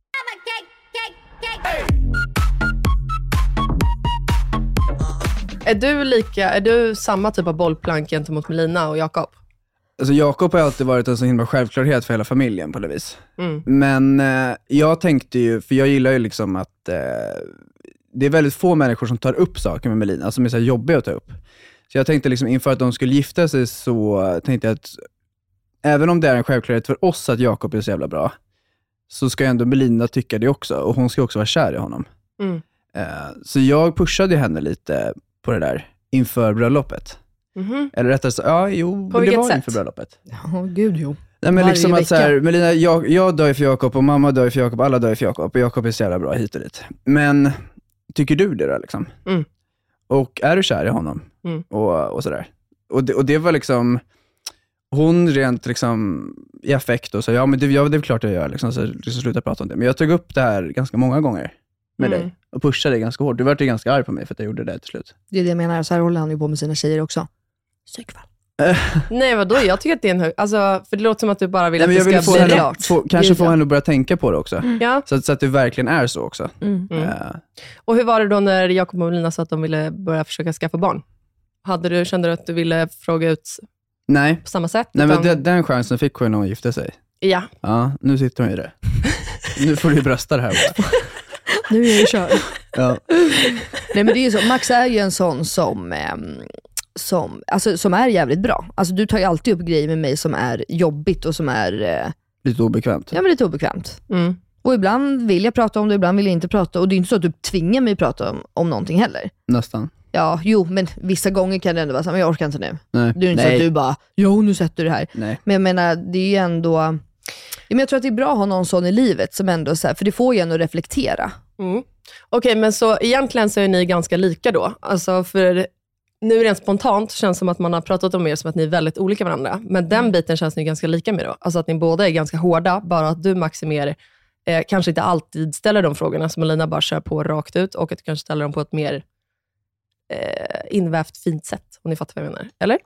[SPEAKER 6] Är du, lika, är du samma typ av bollplank gentemot Melina och Jakob?
[SPEAKER 4] Alltså Jakob har ju alltid varit en så himla självklarhet för hela familjen på något vis.
[SPEAKER 6] Mm.
[SPEAKER 4] Men eh, jag tänkte ju, för jag gillar ju liksom att eh, det är väldigt få människor som tar upp saker med Melina, som är så här jobbiga att ta upp. Så jag tänkte liksom inför att de skulle gifta sig så eh, tänkte jag att även om det är en självklarhet för oss att Jakob är så jävla bra, så ska ju ändå Melina tycka det också och hon ska också vara kär i honom.
[SPEAKER 6] Mm.
[SPEAKER 4] Eh, så jag pushade ju henne lite på det där inför bröllopet.
[SPEAKER 6] Mhm.
[SPEAKER 4] Eller rättare sagt, ja jo,
[SPEAKER 6] På
[SPEAKER 4] det
[SPEAKER 6] vilket
[SPEAKER 4] var
[SPEAKER 6] sätt?
[SPEAKER 4] inför bröllopet.
[SPEAKER 2] Ja, gud jo.
[SPEAKER 4] Nej, men
[SPEAKER 2] Varje
[SPEAKER 4] liksom
[SPEAKER 2] vecka.
[SPEAKER 4] att så här, Melina, jag, jag dör ju för Jakob och mamma dör ju för Jakob, alla dör ju för Jakob och Jakob är så jävla bra hit och dit. Men tycker du det då liksom?
[SPEAKER 6] Mm.
[SPEAKER 4] Och är du kär i honom?
[SPEAKER 6] Mm.
[SPEAKER 4] Och, och sådär. Och det, och det var liksom, hon rent liksom i affekt och så, ja men det, ja, det är klart jag gör, liksom, så, så sluta prata om det. Men jag tog upp det här ganska många gånger med
[SPEAKER 6] Mm.
[SPEAKER 4] dig och pushade dig ganska hårt. Du vart ju ganska arg på mig för att jag gjorde det till slut.
[SPEAKER 2] Det är det jag menar, så här håller han ju på med sina tjejer också. Psykfall.
[SPEAKER 6] Nej, vadå? Jag tycker att det är en hög... Alltså, för det låter som att du bara vill
[SPEAKER 4] Nej, men jag
[SPEAKER 6] att
[SPEAKER 4] ville
[SPEAKER 6] det
[SPEAKER 4] få
[SPEAKER 6] ska bli
[SPEAKER 4] henne,
[SPEAKER 6] rätt.
[SPEAKER 4] få, kanske
[SPEAKER 2] Gud,
[SPEAKER 4] få
[SPEAKER 2] ja.
[SPEAKER 4] henne att börja tänka på det också.
[SPEAKER 6] Ja.
[SPEAKER 4] Så, att- så att det verkligen är så också.
[SPEAKER 6] Mm.
[SPEAKER 4] Eh,
[SPEAKER 6] Och hur var det då när Jakob och Melina sa att de ville börja försöka skaffa barn? Hade du, kände du att du ville fråga ut
[SPEAKER 4] nej,
[SPEAKER 6] på samma sätt?
[SPEAKER 4] Nej, men
[SPEAKER 6] Utan-
[SPEAKER 4] den, den chansen fick hon när hon gifte sig.
[SPEAKER 6] Ja.
[SPEAKER 4] Ja, nu sitter hon ju där. Nu får du brösta det här. bara.
[SPEAKER 2] Nu är jag kör.
[SPEAKER 4] Ja.
[SPEAKER 2] Nej men det är ju så, Max är ju en sån som, ehm, som, alltså, som är jävligt bra. Alltså du tar ju alltid upp grejer med mig som är jobbigt och som är eh,
[SPEAKER 4] Lite obekvämt.
[SPEAKER 2] ja, men lite obekvämt.
[SPEAKER 6] Mm.
[SPEAKER 2] Och ibland vill jag prata om det, ibland vill jag inte prata. Och det är inte så att du tvingar mig att prata om, om någonting heller.
[SPEAKER 4] Nästan.
[SPEAKER 2] Ja, jo, men vissa gånger kan det ändå vara så här, men jag orkar inte nu.
[SPEAKER 4] Nej.
[SPEAKER 2] Det är inte
[SPEAKER 4] Eh, Nej.
[SPEAKER 2] så att du bara, jo nu sätter du det här.
[SPEAKER 4] Nej.
[SPEAKER 2] Men jag menar, det är ju ändå, ja, men jag tror att det är bra att ha någon sån i livet som ändå, så här, för det får ju en att reflektera.
[SPEAKER 6] Mm. Okej, men så egentligen så är ni ganska lika då. Alltså för nu rent spontant känns det som att man har pratat om er som att ni är väldigt olika varandra. Men
[SPEAKER 2] Mm.
[SPEAKER 6] den biten känns ni ganska lika med då. Alltså att ni båda är ganska hårda, bara att du Max är mer, eh, kanske inte alltid ställer de frågorna som Elina bara kör på rakt ut och att du kanske ställer dem på ett mer eh, invävt fint sätt, om ni fattar vad jag menar. Eller?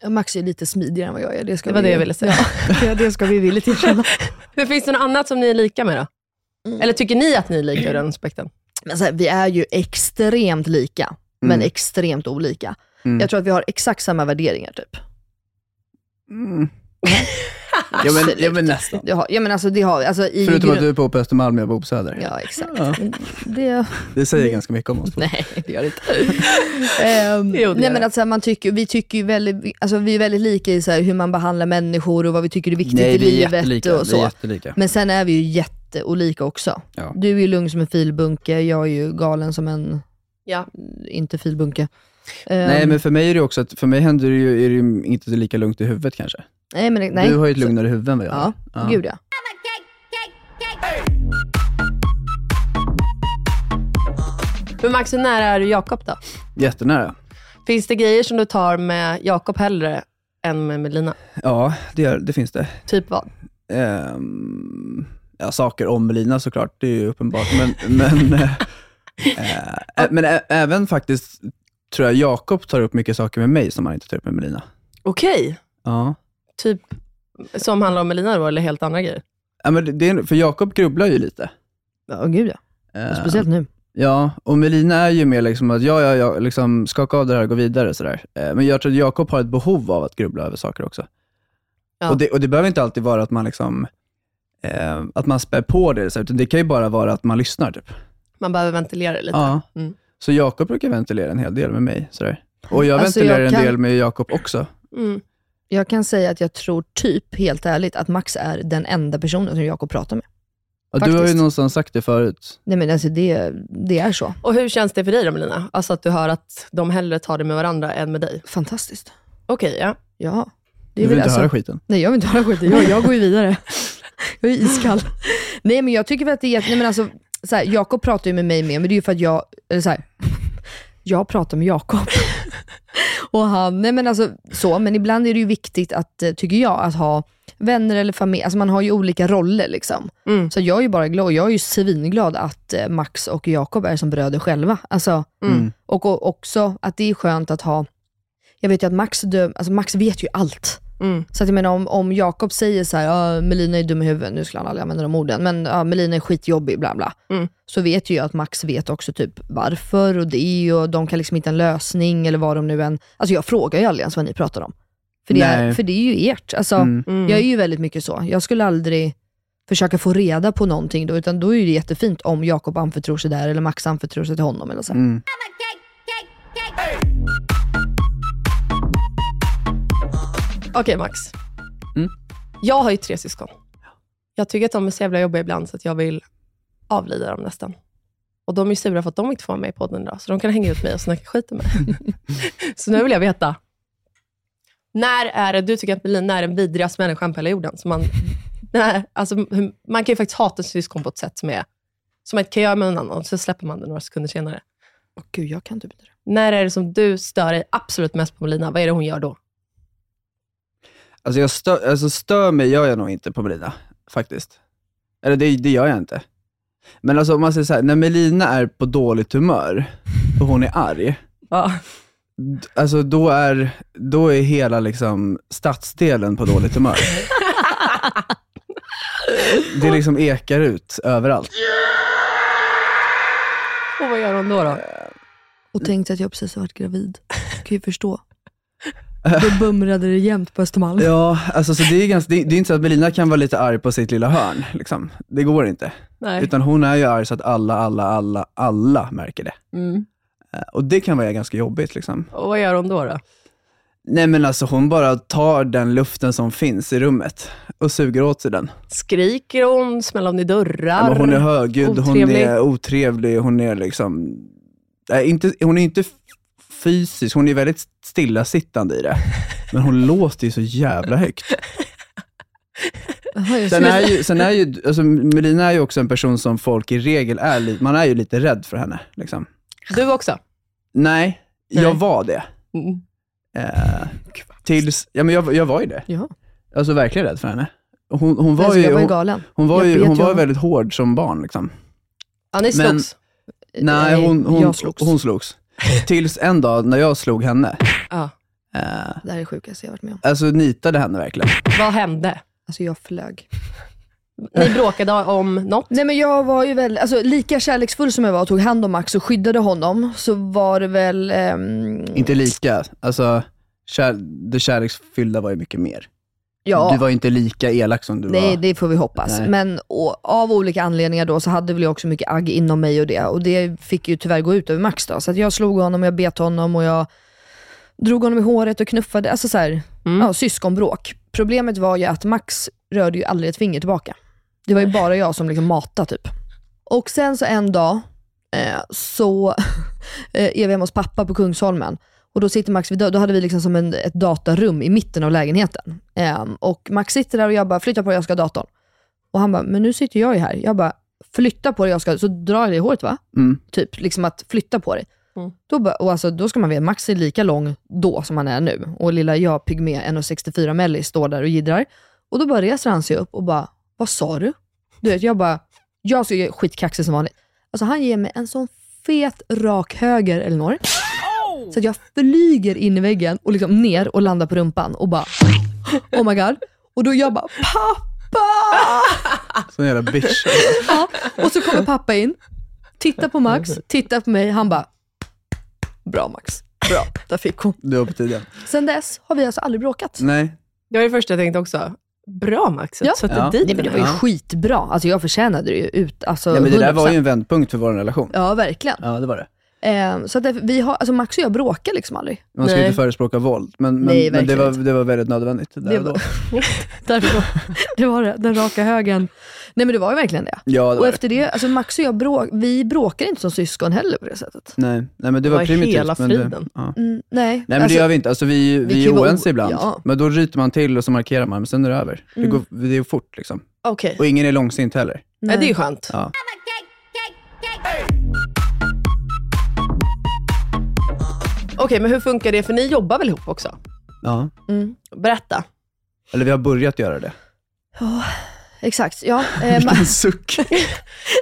[SPEAKER 2] Ja, Max är lite smidigare än vad jag är. Det, ska
[SPEAKER 6] Det var
[SPEAKER 2] vi,
[SPEAKER 6] det jag ville säga.
[SPEAKER 2] Ja, det ska vi villigt erkänna.
[SPEAKER 6] Men finns det något annat som ni är lika med då?
[SPEAKER 2] Mm.
[SPEAKER 6] Eller tycker ni att ni är lika ur den aspekten?
[SPEAKER 2] Men så här, vi är ju extremt lika, men
[SPEAKER 4] Mm.
[SPEAKER 2] extremt olika.
[SPEAKER 4] Mm.
[SPEAKER 2] Jag tror att vi har exakt samma värderingar typ.
[SPEAKER 4] Mm. Ja men, ja, men nästan.
[SPEAKER 2] Det har, ja men alltså det har vi. Alltså, i
[SPEAKER 4] Förutom att
[SPEAKER 2] grund-
[SPEAKER 4] du bor på Östermalm och jag bor på Söder.
[SPEAKER 2] Ja exakt. Mm,
[SPEAKER 4] Ja.
[SPEAKER 2] Det...
[SPEAKER 4] Det säger ganska mycket om oss.
[SPEAKER 2] Nej, det gör det inte. Ehm,
[SPEAKER 6] Jo, det gör
[SPEAKER 2] nej, men
[SPEAKER 6] det.
[SPEAKER 2] alltså, man tycker, vi, tycker ju väldigt, alltså, vi är väldigt lika i så här, hur man behandlar människor och vad vi tycker är viktigt i
[SPEAKER 4] Nej, vi är
[SPEAKER 2] livet.
[SPEAKER 4] jättelika.
[SPEAKER 2] Och
[SPEAKER 4] Vi är
[SPEAKER 2] så.
[SPEAKER 4] jättelika.
[SPEAKER 2] Men sen är vi ju jätteolika också.
[SPEAKER 4] Ja.
[SPEAKER 2] Du är ju lugn som en filbunke, jag är ju galen som en,
[SPEAKER 6] Ja.
[SPEAKER 2] inte filbunke. Ehm,
[SPEAKER 4] Nej, men för mig är det också att, för mig händer det ju, är det ju inte lika lugnt i huvudet kanske.
[SPEAKER 2] nej, men nej.
[SPEAKER 4] Du har ju ett lugnare huvud än vad jag
[SPEAKER 2] Ja,
[SPEAKER 4] har.
[SPEAKER 2] gud ja.
[SPEAKER 6] Men Max, hur nära är du Jakob då?
[SPEAKER 4] Jättenära.
[SPEAKER 6] Finns det grejer som du tar med Jakob hellre än med Melina?
[SPEAKER 4] Ja, det, gör, det finns det.
[SPEAKER 6] Typ vad?
[SPEAKER 4] Ehm, ja, saker om Melina såklart, det är ju uppenbart. Men, men, eh, eh, men ä- även faktiskt, tror jag, Jakob tar upp mycket saker med mig som han inte tar upp med Melina.
[SPEAKER 6] Okej.
[SPEAKER 4] Ja.
[SPEAKER 6] Typ som handlar om Melina då, eller helt andra grejer?
[SPEAKER 4] Ja, men det- det är, för Jakob grubblar ju lite.
[SPEAKER 2] Ja, oh, gud ja.
[SPEAKER 4] Ehm,
[SPEAKER 2] Speciellt nu.
[SPEAKER 4] Ja, och Melina är ju mer liksom att, ja, ja, ja liksom, skaka av det här och gå vidare. Sådär. Eh, Men jag tror att Jakob har ett behov av att grubbla över saker också.
[SPEAKER 6] Ja.
[SPEAKER 4] Och, det, och det behöver inte alltid vara att man liksom eh, att man spär på det, så här, utan det kan ju bara vara att man lyssnar. Typ.
[SPEAKER 6] Man behöver ventilera det lite.
[SPEAKER 4] Ja.
[SPEAKER 6] Mm.
[SPEAKER 4] Så Jakob brukar ventilera en hel del med mig. Sådär. Och jag
[SPEAKER 2] Alltså,
[SPEAKER 4] ventilerar
[SPEAKER 2] jag
[SPEAKER 4] en
[SPEAKER 2] kan-
[SPEAKER 4] del med Jakob också.
[SPEAKER 6] Mm.
[SPEAKER 2] Jag kan säga att jag tror typ, helt ärligt, att Max är den enda personen som Jakob pratar med.
[SPEAKER 4] Och du har ju
[SPEAKER 2] Faktiskt.
[SPEAKER 4] någonstans sagt det förut.
[SPEAKER 2] Nej men alltså det, det är så.
[SPEAKER 6] Och hur känns det för dig då Melina? Alltså att du hör att de hellre tar det med varandra än med dig?
[SPEAKER 2] Fantastiskt.
[SPEAKER 6] Okej, ja.
[SPEAKER 2] Ja. Det
[SPEAKER 4] Du
[SPEAKER 2] är
[SPEAKER 4] vill
[SPEAKER 2] väl
[SPEAKER 4] inte
[SPEAKER 2] alltså,
[SPEAKER 4] höra skiten.
[SPEAKER 2] Nej, jag vill inte höra skit. Jag, jag går ju vidare. Jag är iskall. Nej, men jag tycker väl att det är... Nej, men alltså, så här, Jakob pratar ju med mig mer, men det är ju för att jag... Eller så här, jag pratar med Jakob. Och han... Nej, men alltså så. Men ibland är det ju viktigt, att, eh, tycker jag, att ha vänner eller familj. Alltså man har ju olika roller liksom.
[SPEAKER 6] Mm.
[SPEAKER 2] Så jag är ju bara glad. Jag är ju svinglad att eh, Max och Jakob är som bröder själva. Alltså,
[SPEAKER 4] Mm.
[SPEAKER 2] och, och också att det är skönt att ha... Jag vet ju att Max, dö, alltså Max vet ju allt.
[SPEAKER 6] Mm.
[SPEAKER 2] Så att jag menar om, om Jakob säger så här, "Ja, Melina är dum i huvudet, nu skulle han aldrig använda de orden, men ja, Melina är skitjobbig, bla bla.
[SPEAKER 6] Mm.
[SPEAKER 2] Så vet ju jag att Max vet också typ varför och det och de kan liksom hitta en lösning eller vad de nu än... Alltså jag frågar ju aldrig ens vad ni pratar om. För det, är,
[SPEAKER 4] Nej.
[SPEAKER 2] för det är ju ert. Alltså,
[SPEAKER 4] Mm.
[SPEAKER 6] Mm.
[SPEAKER 2] Jag är ju väldigt mycket så. Jag skulle aldrig försöka få reda på någonting då, utan då är det jättefint om Jakob anförtror sig där eller Max anförtror sig till honom eller så.
[SPEAKER 4] Mm.
[SPEAKER 6] Okej Max.
[SPEAKER 4] Mm.
[SPEAKER 6] Jag har ju tre syskon. Jag tycker att de är så jävla jobbiga ibland, så att jag vill avlida dem nästan. Och de är sura för att de inte får vara med i podden idag, så de kan hänga ut mig och snacka skit om mig. så nu vill jag veta. När är det du tycker att Melina är den vidrigaste människan på hela jorden? Så man, nej, alltså, hur- man kan ju faktiskt hata ett syskon på ett sätt som, är, som man inte kan göra med någon annan, och så släpper man det några sekunder senare.
[SPEAKER 2] Åh, Gud, jag kan typ inte det.
[SPEAKER 6] När är det som du stör dig absolut mest på Melina? Vad är det hon gör då?
[SPEAKER 4] Alltså, jag stör, alltså stör mig gör jag nog inte på Melina, faktiskt. Eller det, det gör jag inte. Men alltså om man säger så här, när Melina är på dåligt humör och hon är arg,
[SPEAKER 6] Ja.
[SPEAKER 4] d- alltså då är, då är hela liksom stadsdelen på dåligt humör. Det liksom ekar ut överallt.
[SPEAKER 6] Och vad gör hon då? då?
[SPEAKER 2] Och tänkte att jag precis har varit gravid. Jag kan ju förstå. Då bumrade det jämt på Östermalm.
[SPEAKER 4] Ja, alltså så det är, ganska, det, det är inte så att Melina kan vara lite arg på sitt lilla hörn. Liksom. Det går inte.
[SPEAKER 6] Nej.
[SPEAKER 4] Utan hon är ju arg så att alla, alla, alla, alla märker det.
[SPEAKER 6] Mm.
[SPEAKER 4] Eh, Och det kan vara ganska jobbigt. Liksom.
[SPEAKER 6] Och vad gör hon då? då?
[SPEAKER 4] Nej men alltså hon bara tar den luften som finns i rummet och suger åt sig den.
[SPEAKER 6] Skriker hon? Smäller hon i
[SPEAKER 4] Ja,
[SPEAKER 6] dörrar?
[SPEAKER 4] men hon är högljudd, hon
[SPEAKER 6] otrevlig.
[SPEAKER 4] är otrevlig, hon är liksom... Nej, inte, hon är inte f- fysisk, hon är väldigt stillasittande i det. Men hon låter ju så jävla högt.
[SPEAKER 2] Jaha, jag
[SPEAKER 4] Sen är
[SPEAKER 2] skulle-
[SPEAKER 4] ju, sen är ju alltså Melina är ju också en person som folk i regel är lite, man är ju lite rädd för henne. Liksom.
[SPEAKER 6] Du också?
[SPEAKER 4] Nej,
[SPEAKER 6] Nej.
[SPEAKER 4] jag var det.
[SPEAKER 6] Mm.
[SPEAKER 4] Eh, tills, ja, men jag, jag var ju det.
[SPEAKER 2] Ja.
[SPEAKER 4] Alltså verkligen rädd för henne. Hon, hon var
[SPEAKER 2] Alltså,
[SPEAKER 4] ju,
[SPEAKER 2] jag var ju
[SPEAKER 4] hon,
[SPEAKER 2] galen.
[SPEAKER 4] Hon var
[SPEAKER 2] Jag
[SPEAKER 4] ju
[SPEAKER 2] bet
[SPEAKER 4] hon
[SPEAKER 2] ju
[SPEAKER 4] var
[SPEAKER 2] honom.
[SPEAKER 4] väldigt hård som barn. Liksom.
[SPEAKER 6] Ja, ni
[SPEAKER 4] Men-
[SPEAKER 6] slogs?
[SPEAKER 4] Nej, hon, hon,
[SPEAKER 2] Eh, jag slogs.
[SPEAKER 4] hon slogs. Tills en dag när jag slog henne,
[SPEAKER 6] Ja.
[SPEAKER 4] eh,
[SPEAKER 2] Det här är det sjukaste jag varit med om.
[SPEAKER 4] alltså nitade henne verkligen.
[SPEAKER 6] Vad hände?
[SPEAKER 2] Alltså jag flög.
[SPEAKER 6] Ni bråkade om något?
[SPEAKER 2] Nej men jag var ju väl, alltså lika kärleksfull som jag var och tog hand om Max och skyddade honom, så var det väl... ehm,
[SPEAKER 4] Inte lika. Alltså, kär, det kärleksfyllda var ju mycket mer.
[SPEAKER 2] Ja.
[SPEAKER 4] Du var ju inte lika elak som du
[SPEAKER 2] Nej,
[SPEAKER 4] var.
[SPEAKER 2] det får vi hoppas.
[SPEAKER 4] Nej.
[SPEAKER 2] Men och, av olika anledningar då så hade väl jag också mycket agg inom mig och det. Och det fick ju tyvärr gå ut över Max då. Så att jag slog honom, jag bet honom och jag drog honom i håret och knuffade. Alltså så här, ja, syskonbråk. Problemet var ju att Max rörde ju aldrig ett finger tillbaka. Det var ju bara jag som liksom matade typ. Och sen så en dag eh, så eh, är vi hemma hos pappa på Kungsholmen. Och då sitter Max vid dörren. Då hade vi liksom som en, ett datarum i mitten av lägenheten. Ehm, och Max sitter där och jag bara, flytta på dig, jag ska ha datorn. Och han bara, men nu sitter jag ju här. Jag bara, flytta på dig, jag ska Så drar jag dig i håret va?
[SPEAKER 4] Mm.
[SPEAKER 2] Typ, liksom att flytta på dig. Då, bara, och alltså, då ska man veta, Max är lika lång då som han är nu. Och lilla jag, pygmé, 1,64 melli, står där och jiddrar. Och då bara reser han sig upp och bara, vad sa du? Du vet, jag bara, jag är skitkaxig som vanligt. Alltså han ger mig en sån fet rak höger, Elinor. Så att jag flyger in i väggen och liksom ner och landar på rumpan och bara oh my god. Och då jag bara pappa!
[SPEAKER 4] Sån jävla bitch. alltså,
[SPEAKER 2] Ja. Och så kommer pappa in, tittar på Max, tittar på mig, han bara bra Max, bra, där fick hon.
[SPEAKER 4] Du var på tiden.
[SPEAKER 2] Sen dess har vi alltså aldrig bråkat.
[SPEAKER 4] Nej.
[SPEAKER 3] Det var det första jag tänkte också. Bra Max, att
[SPEAKER 2] Ja.
[SPEAKER 3] du satte
[SPEAKER 4] Ja.
[SPEAKER 3] dit
[SPEAKER 2] Nej men det
[SPEAKER 3] den
[SPEAKER 2] var ju
[SPEAKER 3] här.
[SPEAKER 4] Ja.
[SPEAKER 2] skitbra, alltså jag förtjänade det ju ut, alltså
[SPEAKER 4] Nej, men det där
[SPEAKER 2] 100%.
[SPEAKER 4] var ju en vändpunkt för vår relation.
[SPEAKER 2] Ja verkligen.
[SPEAKER 4] Ja, det var det.
[SPEAKER 2] Eh, så att det- vi har, alltså Max och jag bråkar liksom aldrig.
[SPEAKER 4] Man ska ju
[SPEAKER 3] Nej.
[SPEAKER 4] inte förespråka våld, men, men,
[SPEAKER 2] Nej,
[SPEAKER 4] men det,
[SPEAKER 2] verkligen
[SPEAKER 4] var,
[SPEAKER 2] inte.
[SPEAKER 4] det var väldigt nödvändigt. Där
[SPEAKER 2] Det
[SPEAKER 4] och då.
[SPEAKER 2] var, därför, det var det, den raka högen. Nej men det var ju verkligen det.
[SPEAKER 4] Ja, det
[SPEAKER 2] Och
[SPEAKER 4] var
[SPEAKER 2] efter det, alltså Max och jag brå, vi bråkar inte som syskon heller på det sättet.
[SPEAKER 4] det. Nej, nej, men det
[SPEAKER 3] Det
[SPEAKER 4] var,
[SPEAKER 3] var
[SPEAKER 4] primitivt.
[SPEAKER 3] hela
[SPEAKER 4] men det,
[SPEAKER 3] friden.
[SPEAKER 4] ja.
[SPEAKER 2] Mm, nej,
[SPEAKER 4] Nej men
[SPEAKER 2] alltså,
[SPEAKER 4] det gör vi inte. Alltså, vi, vi,
[SPEAKER 2] kan ju
[SPEAKER 4] är
[SPEAKER 2] vara o-
[SPEAKER 4] oense ibland,
[SPEAKER 2] ja. Mm.
[SPEAKER 4] men då ryter man till och så markerar man, men sen är det över. Det, går, det är fort liksom.
[SPEAKER 3] Okej,
[SPEAKER 4] Och ingen är långsint heller.
[SPEAKER 3] ja, det är ju skönt.
[SPEAKER 4] Ja.
[SPEAKER 3] Okej, men hur funkar det? För ni jobbar väl ihop också?
[SPEAKER 4] Ja.
[SPEAKER 3] Berätta.
[SPEAKER 4] Eller vi har börjat göra det.
[SPEAKER 2] Exakt, ja. Eh, Ma-
[SPEAKER 4] Vilken suck.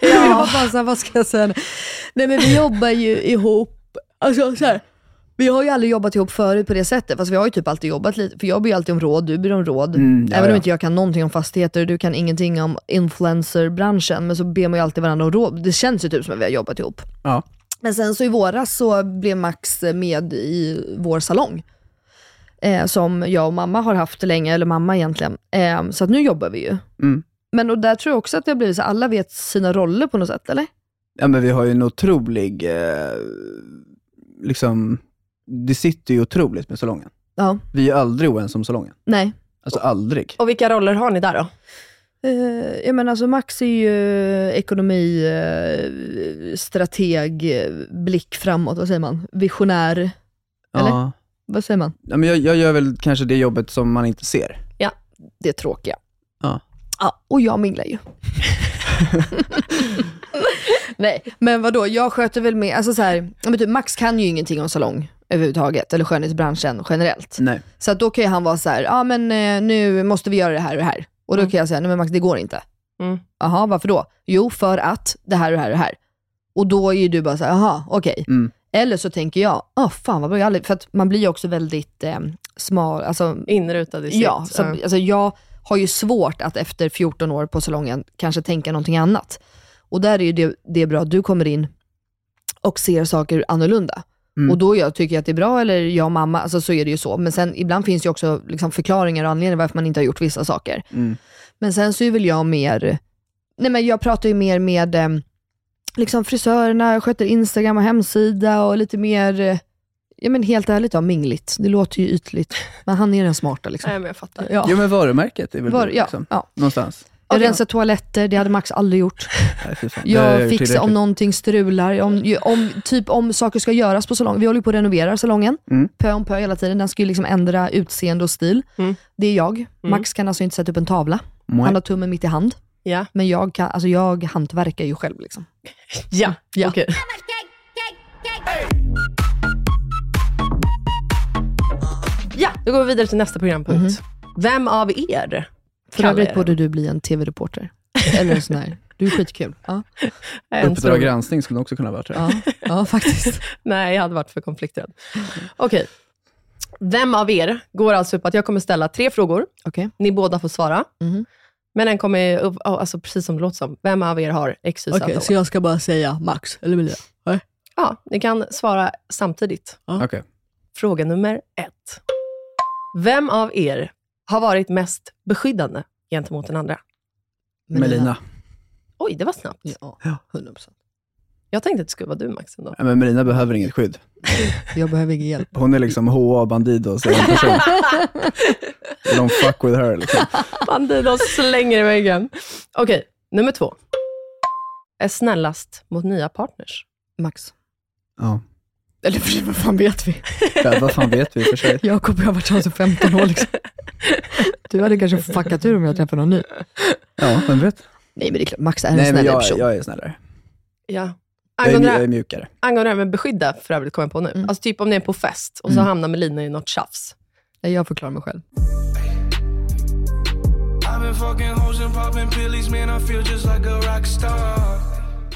[SPEAKER 2] ja. Jag var bara så här, vad ska jag säga nu? Nej men vi jobbar ju ihop, alltså så här. Vi har ju aldrig jobbat ihop förut på det sättet, fast vi har ju typ alltid jobbat lite, för jag ber ju alltid om råd, du ber om råd.
[SPEAKER 4] Mm, ja,
[SPEAKER 2] Även om
[SPEAKER 4] ja.
[SPEAKER 2] inte jag kan någonting om fastigheter och du kan ingenting om influencerbranschen, men så ber man ju alltid varandra om råd. Det känns ju typ som att vi har jobbat ihop.
[SPEAKER 4] Ja.
[SPEAKER 2] Men sen så i våras så blev Max eh, med i vår salong. Eh, som jag och mamma har haft länge, eller mamma egentligen. Eh, så att nu jobbar vi ju.
[SPEAKER 4] Mm.
[SPEAKER 2] Men och där tror jag också att det har blivit så att alla vet sina roller på något sätt, eller?
[SPEAKER 4] Ja, men vi har ju en otrolig, eh, liksom, det sitter ju otroligt med salongen.
[SPEAKER 2] Ja.
[SPEAKER 4] Vi är aldrig oense om salongen.
[SPEAKER 2] Nej.
[SPEAKER 4] Alltså aldrig.
[SPEAKER 3] Och vilka roller har ni där då?
[SPEAKER 2] Eh, jag menar alltså Max är ju ekonomi, eh, strateg, eh, blick framåt, vad säger man? Visionär, eller?
[SPEAKER 4] Ja.
[SPEAKER 2] vad säger man?
[SPEAKER 4] Ja, men jag, jag gör väl kanske det jobbet som man inte ser.
[SPEAKER 2] Det är tråkiga.
[SPEAKER 4] Ja.
[SPEAKER 2] Ja, och jag minglar ju. Nej, men vadå, jag sköter väl med, alltså så här, ja, men typ, Max kan ju ingenting om salong överhuvudtaget, eller skönhetsbranschen generellt.
[SPEAKER 4] Nej.
[SPEAKER 2] Så att då kan ju han vara så här, ja men eh, nu måste vi göra det här och det här. Och
[SPEAKER 4] Mm.
[SPEAKER 2] då kan jag säga, nej men Max det går inte.
[SPEAKER 3] Mm.
[SPEAKER 2] Jaha, varför då? Jo, för att det här och det här och det här. Och då är ju du bara så här, jaha, okej.
[SPEAKER 4] Mm.
[SPEAKER 2] Eller så tänker jag, ah fan vad bra, jag har aldrig-" för att man blir ju också väldigt eh, smal, alltså
[SPEAKER 3] Inrutad i sitt.
[SPEAKER 2] Ja, så,
[SPEAKER 3] ja.
[SPEAKER 2] alltså, jag har ju svårt att efter 14 år på salongen kanske tänka någonting annat. Och där är ju det, det är bra att du kommer in och ser saker annorlunda.
[SPEAKER 4] Mm.
[SPEAKER 2] Och då jag tycker jag att det är bra, eller jag och mamma, alltså, så är det ju så. Men sen ibland finns det ju också liksom, förklaringar och anledningar varför man inte har gjort vissa saker.
[SPEAKER 4] Mm.
[SPEAKER 2] Men sen så är väl jag mer, nej men jag pratar ju mer med eh, liksom frisörerna, jag sköter Instagram och hemsida och lite mer, eh, ja men helt ärligt då, mingligt. Det låter ju ytligt, men han är den smarta liksom.
[SPEAKER 3] Nej, men jag fattar.
[SPEAKER 2] Ja.
[SPEAKER 4] Jo men varumärket är väl
[SPEAKER 2] Var,
[SPEAKER 4] det,
[SPEAKER 2] ja,
[SPEAKER 4] liksom.
[SPEAKER 2] ja.
[SPEAKER 4] Någonstans.
[SPEAKER 2] Jag
[SPEAKER 3] Okej.
[SPEAKER 2] rensar toaletter, det hade Max aldrig gjort.
[SPEAKER 4] Nej, fy fan. Det har
[SPEAKER 2] Jag
[SPEAKER 4] gjort
[SPEAKER 2] fixar om
[SPEAKER 4] tillräckligt.
[SPEAKER 2] någonting strular, om, ju- om, typ om saker ska göras på salongen. Vi håller ju på att renovera salongen,
[SPEAKER 4] Mm.
[SPEAKER 2] pö om pö hela tiden. Den ska ju liksom ändra utseende och stil.
[SPEAKER 3] Mm.
[SPEAKER 2] Det är jag. Max kan alltså inte sätta upp en tavla.
[SPEAKER 4] Nej.
[SPEAKER 2] Han har tummen mitt i hand.
[SPEAKER 3] Ja.
[SPEAKER 2] Men jag, kan, alltså jag hantverkar ju själv. Liksom.
[SPEAKER 3] Ja,
[SPEAKER 2] Ja.
[SPEAKER 3] okej. Ja, då går vi vidare till nästa programpunkt.
[SPEAKER 2] Mhm.
[SPEAKER 3] Vem av er?
[SPEAKER 2] För
[SPEAKER 3] kallar
[SPEAKER 2] övrigt
[SPEAKER 3] er?
[SPEAKER 2] borde du bli en tv-reporter. Eller en sån här. Du är skitkul. Ja,
[SPEAKER 3] Jag är en
[SPEAKER 4] Uppdrag
[SPEAKER 3] stor-
[SPEAKER 4] granskning skulle också kunna vara tror jag.
[SPEAKER 2] ja, ja faktiskt.
[SPEAKER 3] Nej, jag hade varit för konflikträdd.
[SPEAKER 2] Mm.
[SPEAKER 3] Okej. Vem av er går alltså ut på att jag kommer ställa tre frågor.
[SPEAKER 2] Okej.
[SPEAKER 3] Ni båda får svara.
[SPEAKER 2] Mhm.
[SPEAKER 3] Men den kommer, upp- ja, alltså precis som det låter som, vem av er har x, y, z år?
[SPEAKER 2] jag ska bara säga Max, eller Emilia?
[SPEAKER 3] Ja, ni kan svara samtidigt.
[SPEAKER 4] Okej.
[SPEAKER 3] Fråga nummer ett. Vem av er har varit mest beskyddande gentemot den andra?
[SPEAKER 4] Melina.
[SPEAKER 3] Oj, det var snabbt.
[SPEAKER 2] Ja, 100%.
[SPEAKER 3] Jag tänkte att det skulle vara du Max ändå.
[SPEAKER 4] Ja, men Melina behöver inget skydd.
[SPEAKER 2] Jag behöver ingen hjälp.
[SPEAKER 4] Hon är liksom HA Bandidos egen person. Don't fuck with her. Liksom.
[SPEAKER 3] Bandidos slänger i väggen. Okej, nummer två. Är snällast mot nya partners?
[SPEAKER 2] Max.
[SPEAKER 4] Ja.
[SPEAKER 2] Eller för sig, vad fan vet vi?
[SPEAKER 4] Ja, vad fan vet vi i och för sig?
[SPEAKER 2] Jakob och jag har varit tillsammans i 15 år liksom. Du hade kanske fuckat ur om jag träffade någon ny.
[SPEAKER 4] Ja, vem vet?
[SPEAKER 2] Nej men det är klart, Max är en
[SPEAKER 4] Nej, men
[SPEAKER 2] snällare
[SPEAKER 4] jag,
[SPEAKER 2] person.
[SPEAKER 4] jag är snällare.
[SPEAKER 3] Ja.
[SPEAKER 4] Jag är,
[SPEAKER 3] Angående, det
[SPEAKER 4] mj- jag är
[SPEAKER 3] här-
[SPEAKER 4] mjukare.
[SPEAKER 3] angående det här med beskydda, för övrigt, kom jag på nu.
[SPEAKER 2] Mm.
[SPEAKER 3] Alltså typ om ni är på fest och så hamnar Melina i något tjafs.
[SPEAKER 2] Nej, jag förklarar mig själv.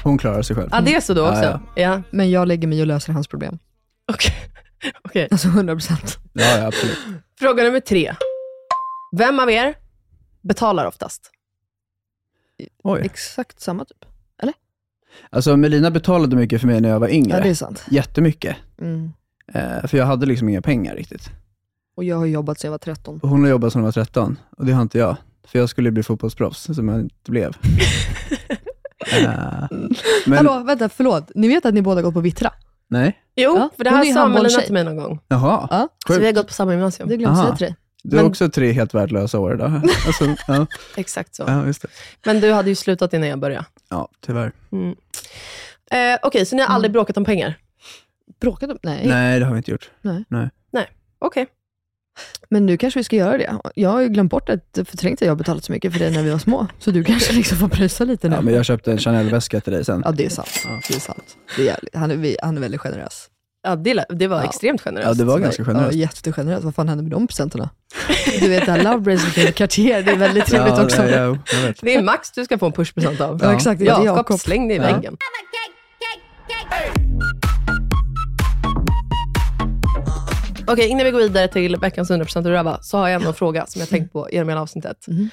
[SPEAKER 4] Hon klarar sig själv.
[SPEAKER 3] Ja, det är så då också?
[SPEAKER 4] Mm.
[SPEAKER 3] Ja.
[SPEAKER 4] Ja,
[SPEAKER 3] ja.
[SPEAKER 2] Men jag lägger mig och löser hans problem.
[SPEAKER 3] Okej. Okej.
[SPEAKER 2] Alltså 100%.
[SPEAKER 4] Ja, ja, absolut.
[SPEAKER 3] Fråga nummer tre. Vem av er betalar oftast?
[SPEAKER 4] Oj.
[SPEAKER 2] Exakt samma typ.
[SPEAKER 4] Alltså, Melina betalade mycket för mig när jag var yngre.
[SPEAKER 2] Ja, det är sant.
[SPEAKER 4] Jättemycket.
[SPEAKER 2] Mm.
[SPEAKER 4] Eh, för jag hade liksom inga pengar riktigt.
[SPEAKER 2] Och jag har jobbat sedan jag var 13.
[SPEAKER 4] Och Hon har jobbat sedan hon var 13 och det har inte jag. För jag skulle bli fotbollsproffs, som jag inte blev. Eh, men,
[SPEAKER 2] Hallå, vänta, förlåt. Ni vet att ni båda går på Vittra?
[SPEAKER 4] Nej.
[SPEAKER 3] Jo,
[SPEAKER 2] Ja,
[SPEAKER 3] för det
[SPEAKER 2] hon
[SPEAKER 3] här
[SPEAKER 2] är ju
[SPEAKER 3] sa Melina
[SPEAKER 2] handbollstjej.
[SPEAKER 3] till mig någon gång.
[SPEAKER 4] Jaha.
[SPEAKER 2] Ja.
[SPEAKER 3] Så vi har
[SPEAKER 4] Sjukt.
[SPEAKER 3] gått på samma gymnasium.
[SPEAKER 2] Det glömde jag säga
[SPEAKER 4] Aha.
[SPEAKER 2] till dig.
[SPEAKER 4] Du har
[SPEAKER 3] men-
[SPEAKER 4] också tre helt värdelösa år idag. Alltså, ja,
[SPEAKER 3] Exakt så.
[SPEAKER 4] ja, just det.
[SPEAKER 3] Men du hade ju slutat innan jag började.
[SPEAKER 4] Ja, tyvärr.
[SPEAKER 3] Mm. Eh, Okej, så ni har aldrig bråkat om pengar?
[SPEAKER 2] Bråkade om... Nej.
[SPEAKER 4] Nej, det har vi inte gjort.
[SPEAKER 3] Okej.
[SPEAKER 2] Men nu kanske vi ska göra det. Jag har ju glömt bort att förträngt att jag har betalat så mycket för det när vi var små. Så du kanske liksom får pröjsa lite nu.
[SPEAKER 4] Ja, men jag köpte en Chanel-väska till dig sen.
[SPEAKER 2] Ja, det är sant. Det är sant. Det är jävligt. han, är, vi- han är väldigt generös.
[SPEAKER 3] Ja, det, la- det var
[SPEAKER 2] Ja.
[SPEAKER 3] extremt generöst.
[SPEAKER 4] Ja, det var ganska
[SPEAKER 2] Ja,
[SPEAKER 4] generöst.
[SPEAKER 2] jättegenerös. Vad fan hände med de presenterna? Du vet, det här Love Bracelet Cartier, det är väldigt trevligt
[SPEAKER 4] ja,
[SPEAKER 2] också.
[SPEAKER 4] Ja, ja, jag vet.
[SPEAKER 3] Det är Max du ska få en pushpresent av.
[SPEAKER 2] Ja, exakt. Det är
[SPEAKER 3] Jakob,
[SPEAKER 2] Jakob.
[SPEAKER 3] släng dig i
[SPEAKER 4] Ja.
[SPEAKER 3] väggen. Okej, innan vi går vidare till veckans 100% och röva, så har jag ändå en fråga som jag tänkt på genom hela avsnittet.
[SPEAKER 2] Mhm.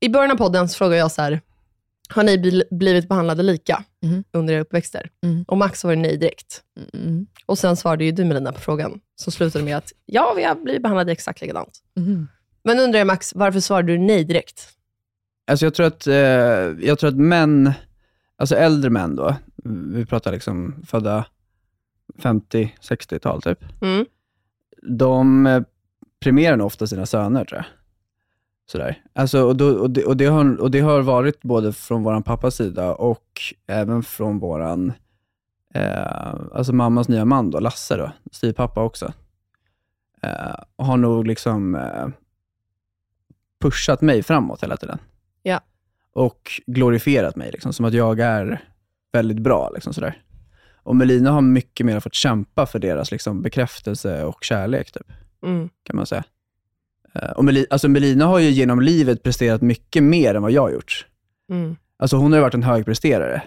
[SPEAKER 3] I början av podden så frågade jag så här, har ni bl- blivit behandlade lika
[SPEAKER 2] Mhm.
[SPEAKER 3] under era uppväxter?
[SPEAKER 2] Mhm.
[SPEAKER 3] Och Max var nej direkt.
[SPEAKER 2] Mm.
[SPEAKER 3] Och sen svarade ju du Melina på frågan, som slutade med att ja, vi har blivit behandlade exakt likadant.
[SPEAKER 2] Mm.
[SPEAKER 3] Men undrar jag Max, varför svarade du nej direkt?
[SPEAKER 4] Alltså jag tror att, eh, jag tror att män, alltså äldre män då, vi pratar liksom födda 50-60-tal typ,
[SPEAKER 3] Mm.
[SPEAKER 4] de eh, premierar nog ofta sina söner tror jag. Sådär. Alltså, och, då, och, det, och, det har, och det har varit både från vår pappas sida och även från våran, eh, alltså mammas nya man då, Lasse då, styvpappa också. Eh, har nog liksom eh, pushat mig framåt hela tiden.
[SPEAKER 3] Ja.
[SPEAKER 4] Och glorifierat mig, liksom, som att jag är väldigt bra. Liksom, sådär. Och Melina har mycket mer fått kämpa för deras liksom, bekräftelse och kärlek, typ,
[SPEAKER 3] Mm.
[SPEAKER 4] kan man säga. Eh, Och Meli- alltså Melina har ju genom livet presterat mycket mer än vad jag har gjort.
[SPEAKER 3] Mm.
[SPEAKER 4] Alltså hon har ju varit en högpresterare.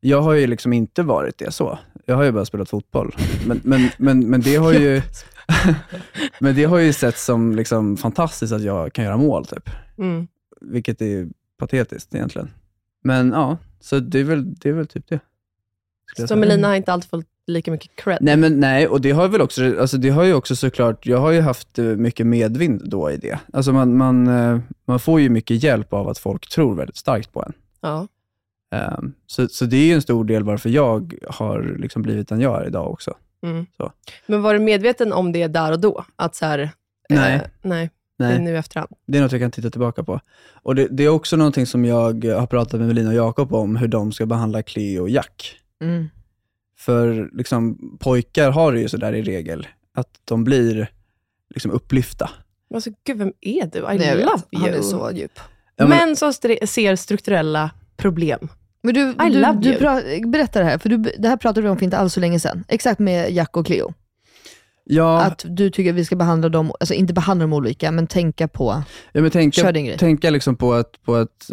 [SPEAKER 4] Jag har ju liksom inte varit det så. Jag har ju bara spelat fotboll. Men, men, men, men det har ju Men det har ju sett som liksom fantastiskt att jag kan göra mål, typ.
[SPEAKER 3] Mm.
[SPEAKER 4] vilket är patetiskt egentligen. Men ja, så det är väl, det är väl typ det. skulle jag
[SPEAKER 3] Så
[SPEAKER 4] säga.
[SPEAKER 3] Melina har inte alltid fått lika mycket cred.
[SPEAKER 4] Nej, men nej, och det har väl också, alltså det har ju också såklart, jag har ju haft eh, mycket medvind då i det. Alltså man, man, eh, man får ju mycket hjälp av att folk tror väldigt starkt på en.
[SPEAKER 3] Ja.
[SPEAKER 4] Ehm, Så, så det är ju en stor del varför jag har liksom blivit den jag är idag också.
[SPEAKER 3] Mm.
[SPEAKER 4] Så.
[SPEAKER 3] Men var du medveten om det där och då? Att så här,
[SPEAKER 4] Nej.
[SPEAKER 3] Eh, nej, det är nu i efterhand.
[SPEAKER 4] Det är något jag kan titta tillbaka på. Och det, det är också någonting som jag har pratat med Melina och Jakob om, hur de ska behandla Cleo och Jack.
[SPEAKER 2] Mm.
[SPEAKER 4] För liksom, pojkar har det ju sådär i regel, att de blir liksom upplyfta.
[SPEAKER 3] Alltså, gud, vem är du? I
[SPEAKER 2] Nej, jag vet.
[SPEAKER 3] love you.
[SPEAKER 2] Han är så djup.
[SPEAKER 4] Ja, men-
[SPEAKER 3] Män som stre- ser strukturella problem.
[SPEAKER 2] Men du,
[SPEAKER 3] I
[SPEAKER 2] du,
[SPEAKER 3] love
[SPEAKER 2] du
[SPEAKER 3] you.
[SPEAKER 2] pra- berätta det här, för du, det här pratade vi om för inte alls så länge sedan. Exakt med Jack och Cleo.
[SPEAKER 4] Ja,
[SPEAKER 2] Att du tycker vi ska behandla dem, alltså inte behandla dem olika, men tänka på...
[SPEAKER 4] ja men tänka,
[SPEAKER 2] Kör din grej.
[SPEAKER 4] tänka liksom på att, på att,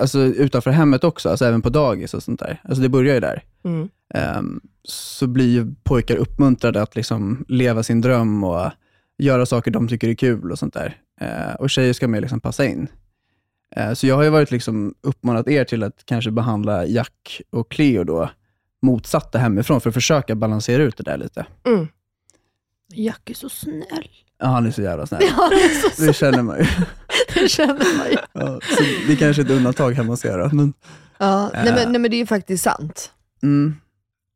[SPEAKER 4] alltså utanför hemmet också, alltså även på dagis och sånt där. Alltså det börjar ju där.
[SPEAKER 3] Mm.
[SPEAKER 4] Ehm, så blir ju pojkar uppmuntrade att liksom leva sin dröm och göra saker de tycker är kul och sånt där. Eh, och tjejer ska mer liksom passa in. Eh, så jag har ju varit liksom uppmanat er till att kanske behandla Jack och Cleo då motsatta hemifrån för att försöka balansera ut det där lite.
[SPEAKER 2] Jack är så snäll.
[SPEAKER 4] Ja, han är så jävla snäll. Det känner man ju.
[SPEAKER 2] Det känner man ju.
[SPEAKER 4] Ja, så det är kanske är ett undantag hemma hos er då. Men,
[SPEAKER 2] Ja, nej,
[SPEAKER 4] Äh.
[SPEAKER 2] men, nej, men det är ju faktiskt sant.
[SPEAKER 4] mm.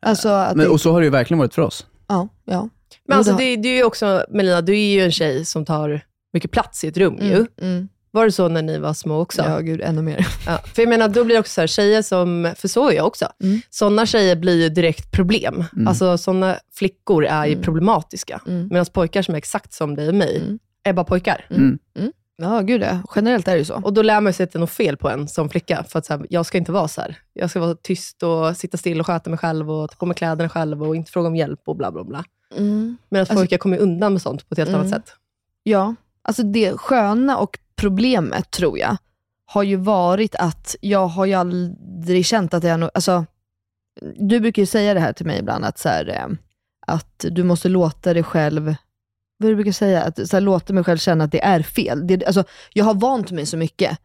[SPEAKER 2] Alltså att
[SPEAKER 4] Äh, men,
[SPEAKER 2] det,
[SPEAKER 4] och så har det ju verkligen varit för oss.
[SPEAKER 2] ja, ja.
[SPEAKER 3] Men alltså,
[SPEAKER 2] Jo,
[SPEAKER 3] det,
[SPEAKER 2] det
[SPEAKER 3] du är ju också, Melina, du är ju en tjej som tar mycket plats i ett rum ju.
[SPEAKER 2] Mm, mm.
[SPEAKER 3] Var det så när ni var små också?
[SPEAKER 2] Ja, gud, ännu mer.
[SPEAKER 3] Ja, för jag menar, då blir det också så här, tjejer som, för så är jag också,
[SPEAKER 2] Mm.
[SPEAKER 3] sådana tjejer blir ju direkt problem. Alltså sådana flickor är ju
[SPEAKER 2] Mm.
[SPEAKER 3] problematiska.
[SPEAKER 2] Mm.
[SPEAKER 3] Medan pojkar som är exakt som dig och mig,
[SPEAKER 2] Mm.
[SPEAKER 3] är bara pojkar.
[SPEAKER 2] Ja, gud ja. Generellt är det ju så.
[SPEAKER 3] Och då lär man sig att det är något fel på en som flicka. För att så här, jag ska inte vara så här. Jag ska vara tyst och sitta still och sköta mig själv och ta på mig kläderna själv och inte fråga om hjälp och bla bla bla.
[SPEAKER 2] Mm.
[SPEAKER 3] Medan
[SPEAKER 2] Alltså-
[SPEAKER 3] pojkar kommer undan med sånt på ett helt
[SPEAKER 2] Mm.
[SPEAKER 3] annat sätt.
[SPEAKER 2] Ja, alltså det sköna och problemet tror jag har ju varit att jag har ju aldrig känt att jag... nog- Alltså, du brukar ju säga det här till mig ibland, att, så här, eh, att du måste låta dig själv... Vad är det du brukar säga? Att så här, låta mig själv känna att det är fel. Det, alltså, jag har vant mig så mycket,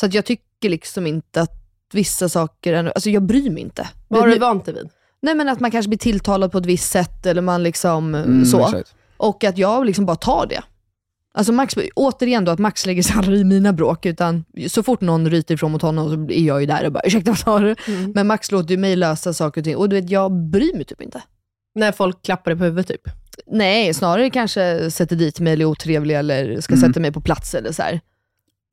[SPEAKER 2] så att jag tycker liksom inte att vissa saker... är- Alltså jag bryr mig inte.
[SPEAKER 3] Vad har
[SPEAKER 2] Nu-
[SPEAKER 3] du vant dig vid?
[SPEAKER 2] Nej men att man kanske blir tilltalad på ett visst sätt, eller man liksom eh,
[SPEAKER 4] Mm,
[SPEAKER 2] så.
[SPEAKER 4] exakt.
[SPEAKER 2] Och att jag liksom bara tar det. Alltså Max, återigen då att Max lägger sig aldrig i mina bråk, utan så fort någon ryter ifrån mot honom så är jag ju där och bara ursäkta vad sa du? Men Max låter ju mig lösa saker och ting och du vet, jag bryr mig typ inte.
[SPEAKER 3] När folk klappar dig på huvudet typ.
[SPEAKER 2] Nej, snarare kanske sätter dit mig eller är otrevlig eller ska
[SPEAKER 4] Mm.
[SPEAKER 2] sätta mig på plats eller så här.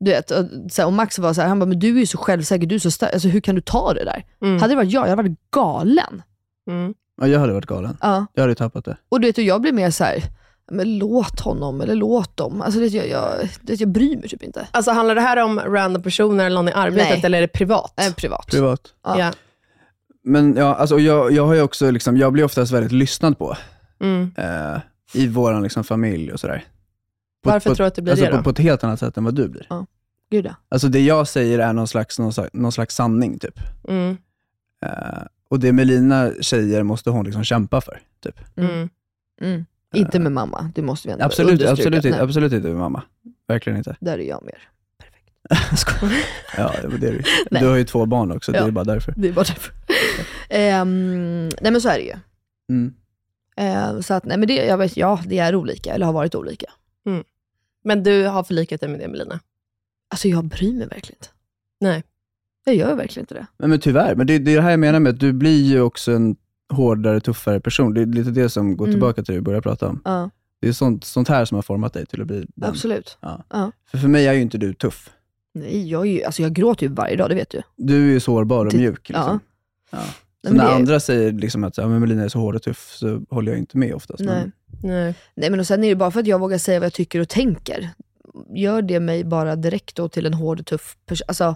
[SPEAKER 2] Du vet, och, så här, och Max var så här, han bara, men du är ju så självsäker, du är så stark, alltså, hur kan du ta det där?
[SPEAKER 3] Mm.
[SPEAKER 2] Hade det varit jag, jag hade varit galen.
[SPEAKER 4] Ja, jag hade varit galen.
[SPEAKER 2] Ja.
[SPEAKER 4] Jag hade ju tappat det.
[SPEAKER 2] Och du vet, och jag blir mer så här, men låt honom eller låt dem. Alltså, det, jag, jag, det, jag bryr mig typ inte.
[SPEAKER 3] Alltså handlar det här om random personer eller någon i arbetet,
[SPEAKER 2] Nej.
[SPEAKER 3] eller är det Eh, privat?
[SPEAKER 2] Nej, privat.
[SPEAKER 4] Privat.
[SPEAKER 2] Ja.
[SPEAKER 3] Ja.
[SPEAKER 4] Men ja, alltså, och jag, jag, har ju också liksom, jag blir oftast väldigt lyssnad på
[SPEAKER 3] Mm.
[SPEAKER 4] eh, i vår liksom, familj och sådär. På-
[SPEAKER 3] Varför
[SPEAKER 4] på,
[SPEAKER 3] tror du att det blir
[SPEAKER 4] alltså,
[SPEAKER 3] det då?
[SPEAKER 4] På, på ett helt annat sätt än vad du blir.
[SPEAKER 2] Gud ja.
[SPEAKER 4] Alltså det jag säger är någon slags, någon slags, någon slags sanning typ.
[SPEAKER 3] Mm.
[SPEAKER 4] Eh, och det Melina säger måste hon liksom kämpa för. Typ.
[SPEAKER 3] Mm.
[SPEAKER 2] Mm. Inte med mamma, det måste vi ändå
[SPEAKER 4] Eh. Absolut,
[SPEAKER 2] understryka.
[SPEAKER 4] absolut, inte,
[SPEAKER 2] Nej,
[SPEAKER 4] absolut inte med mamma. Verkligen inte.
[SPEAKER 2] Där är jag mer.
[SPEAKER 4] Ja, men det är, du.
[SPEAKER 2] Nej.
[SPEAKER 4] du har ju två barn också, det
[SPEAKER 2] Ja.
[SPEAKER 4] är bara därför.
[SPEAKER 2] Det är bara därför. Ehm, nej men så är det ju.
[SPEAKER 4] Mm.
[SPEAKER 2] Ehm, så att, nej men det, jag vet, ja det är olika, eller har varit olika.
[SPEAKER 3] Mm. Men du har förlikat dig med det Melina?
[SPEAKER 2] Alltså jag bryr mig verkligen inte.
[SPEAKER 3] Nej.
[SPEAKER 2] Jag gör verkligen inte det.
[SPEAKER 4] Men, men tyvärr, men det, det är det här jag menar med att du blir ju också en hårdare, tuffare person. Det är lite det som går
[SPEAKER 2] Mm.
[SPEAKER 4] tillbaka till det vi började prata om.
[SPEAKER 2] Ja,
[SPEAKER 4] Det är sånt, sånt här som har format dig till att bli den.
[SPEAKER 2] absolut.
[SPEAKER 4] Ja.
[SPEAKER 2] Ja.
[SPEAKER 4] För, för mig är ju inte du tuff.
[SPEAKER 2] Nej, jag, är ju, alltså jag gråter ju varje dag, det vet du.
[SPEAKER 4] Du är ju sårbar och
[SPEAKER 2] Det-
[SPEAKER 4] mjuk. Liksom. Ja. Så
[SPEAKER 2] men
[SPEAKER 4] när
[SPEAKER 2] det är-
[SPEAKER 4] andra säger liksom att ja, men Melina är så hård och tuff, så håller jag inte med oftast.
[SPEAKER 2] Nej.
[SPEAKER 4] Men,
[SPEAKER 3] Nej.
[SPEAKER 2] Nej men och sen är det bara för att jag vågar säga vad jag tycker och tänker. Gör det mig bara direkt då till en hård och tuff person? Alltså,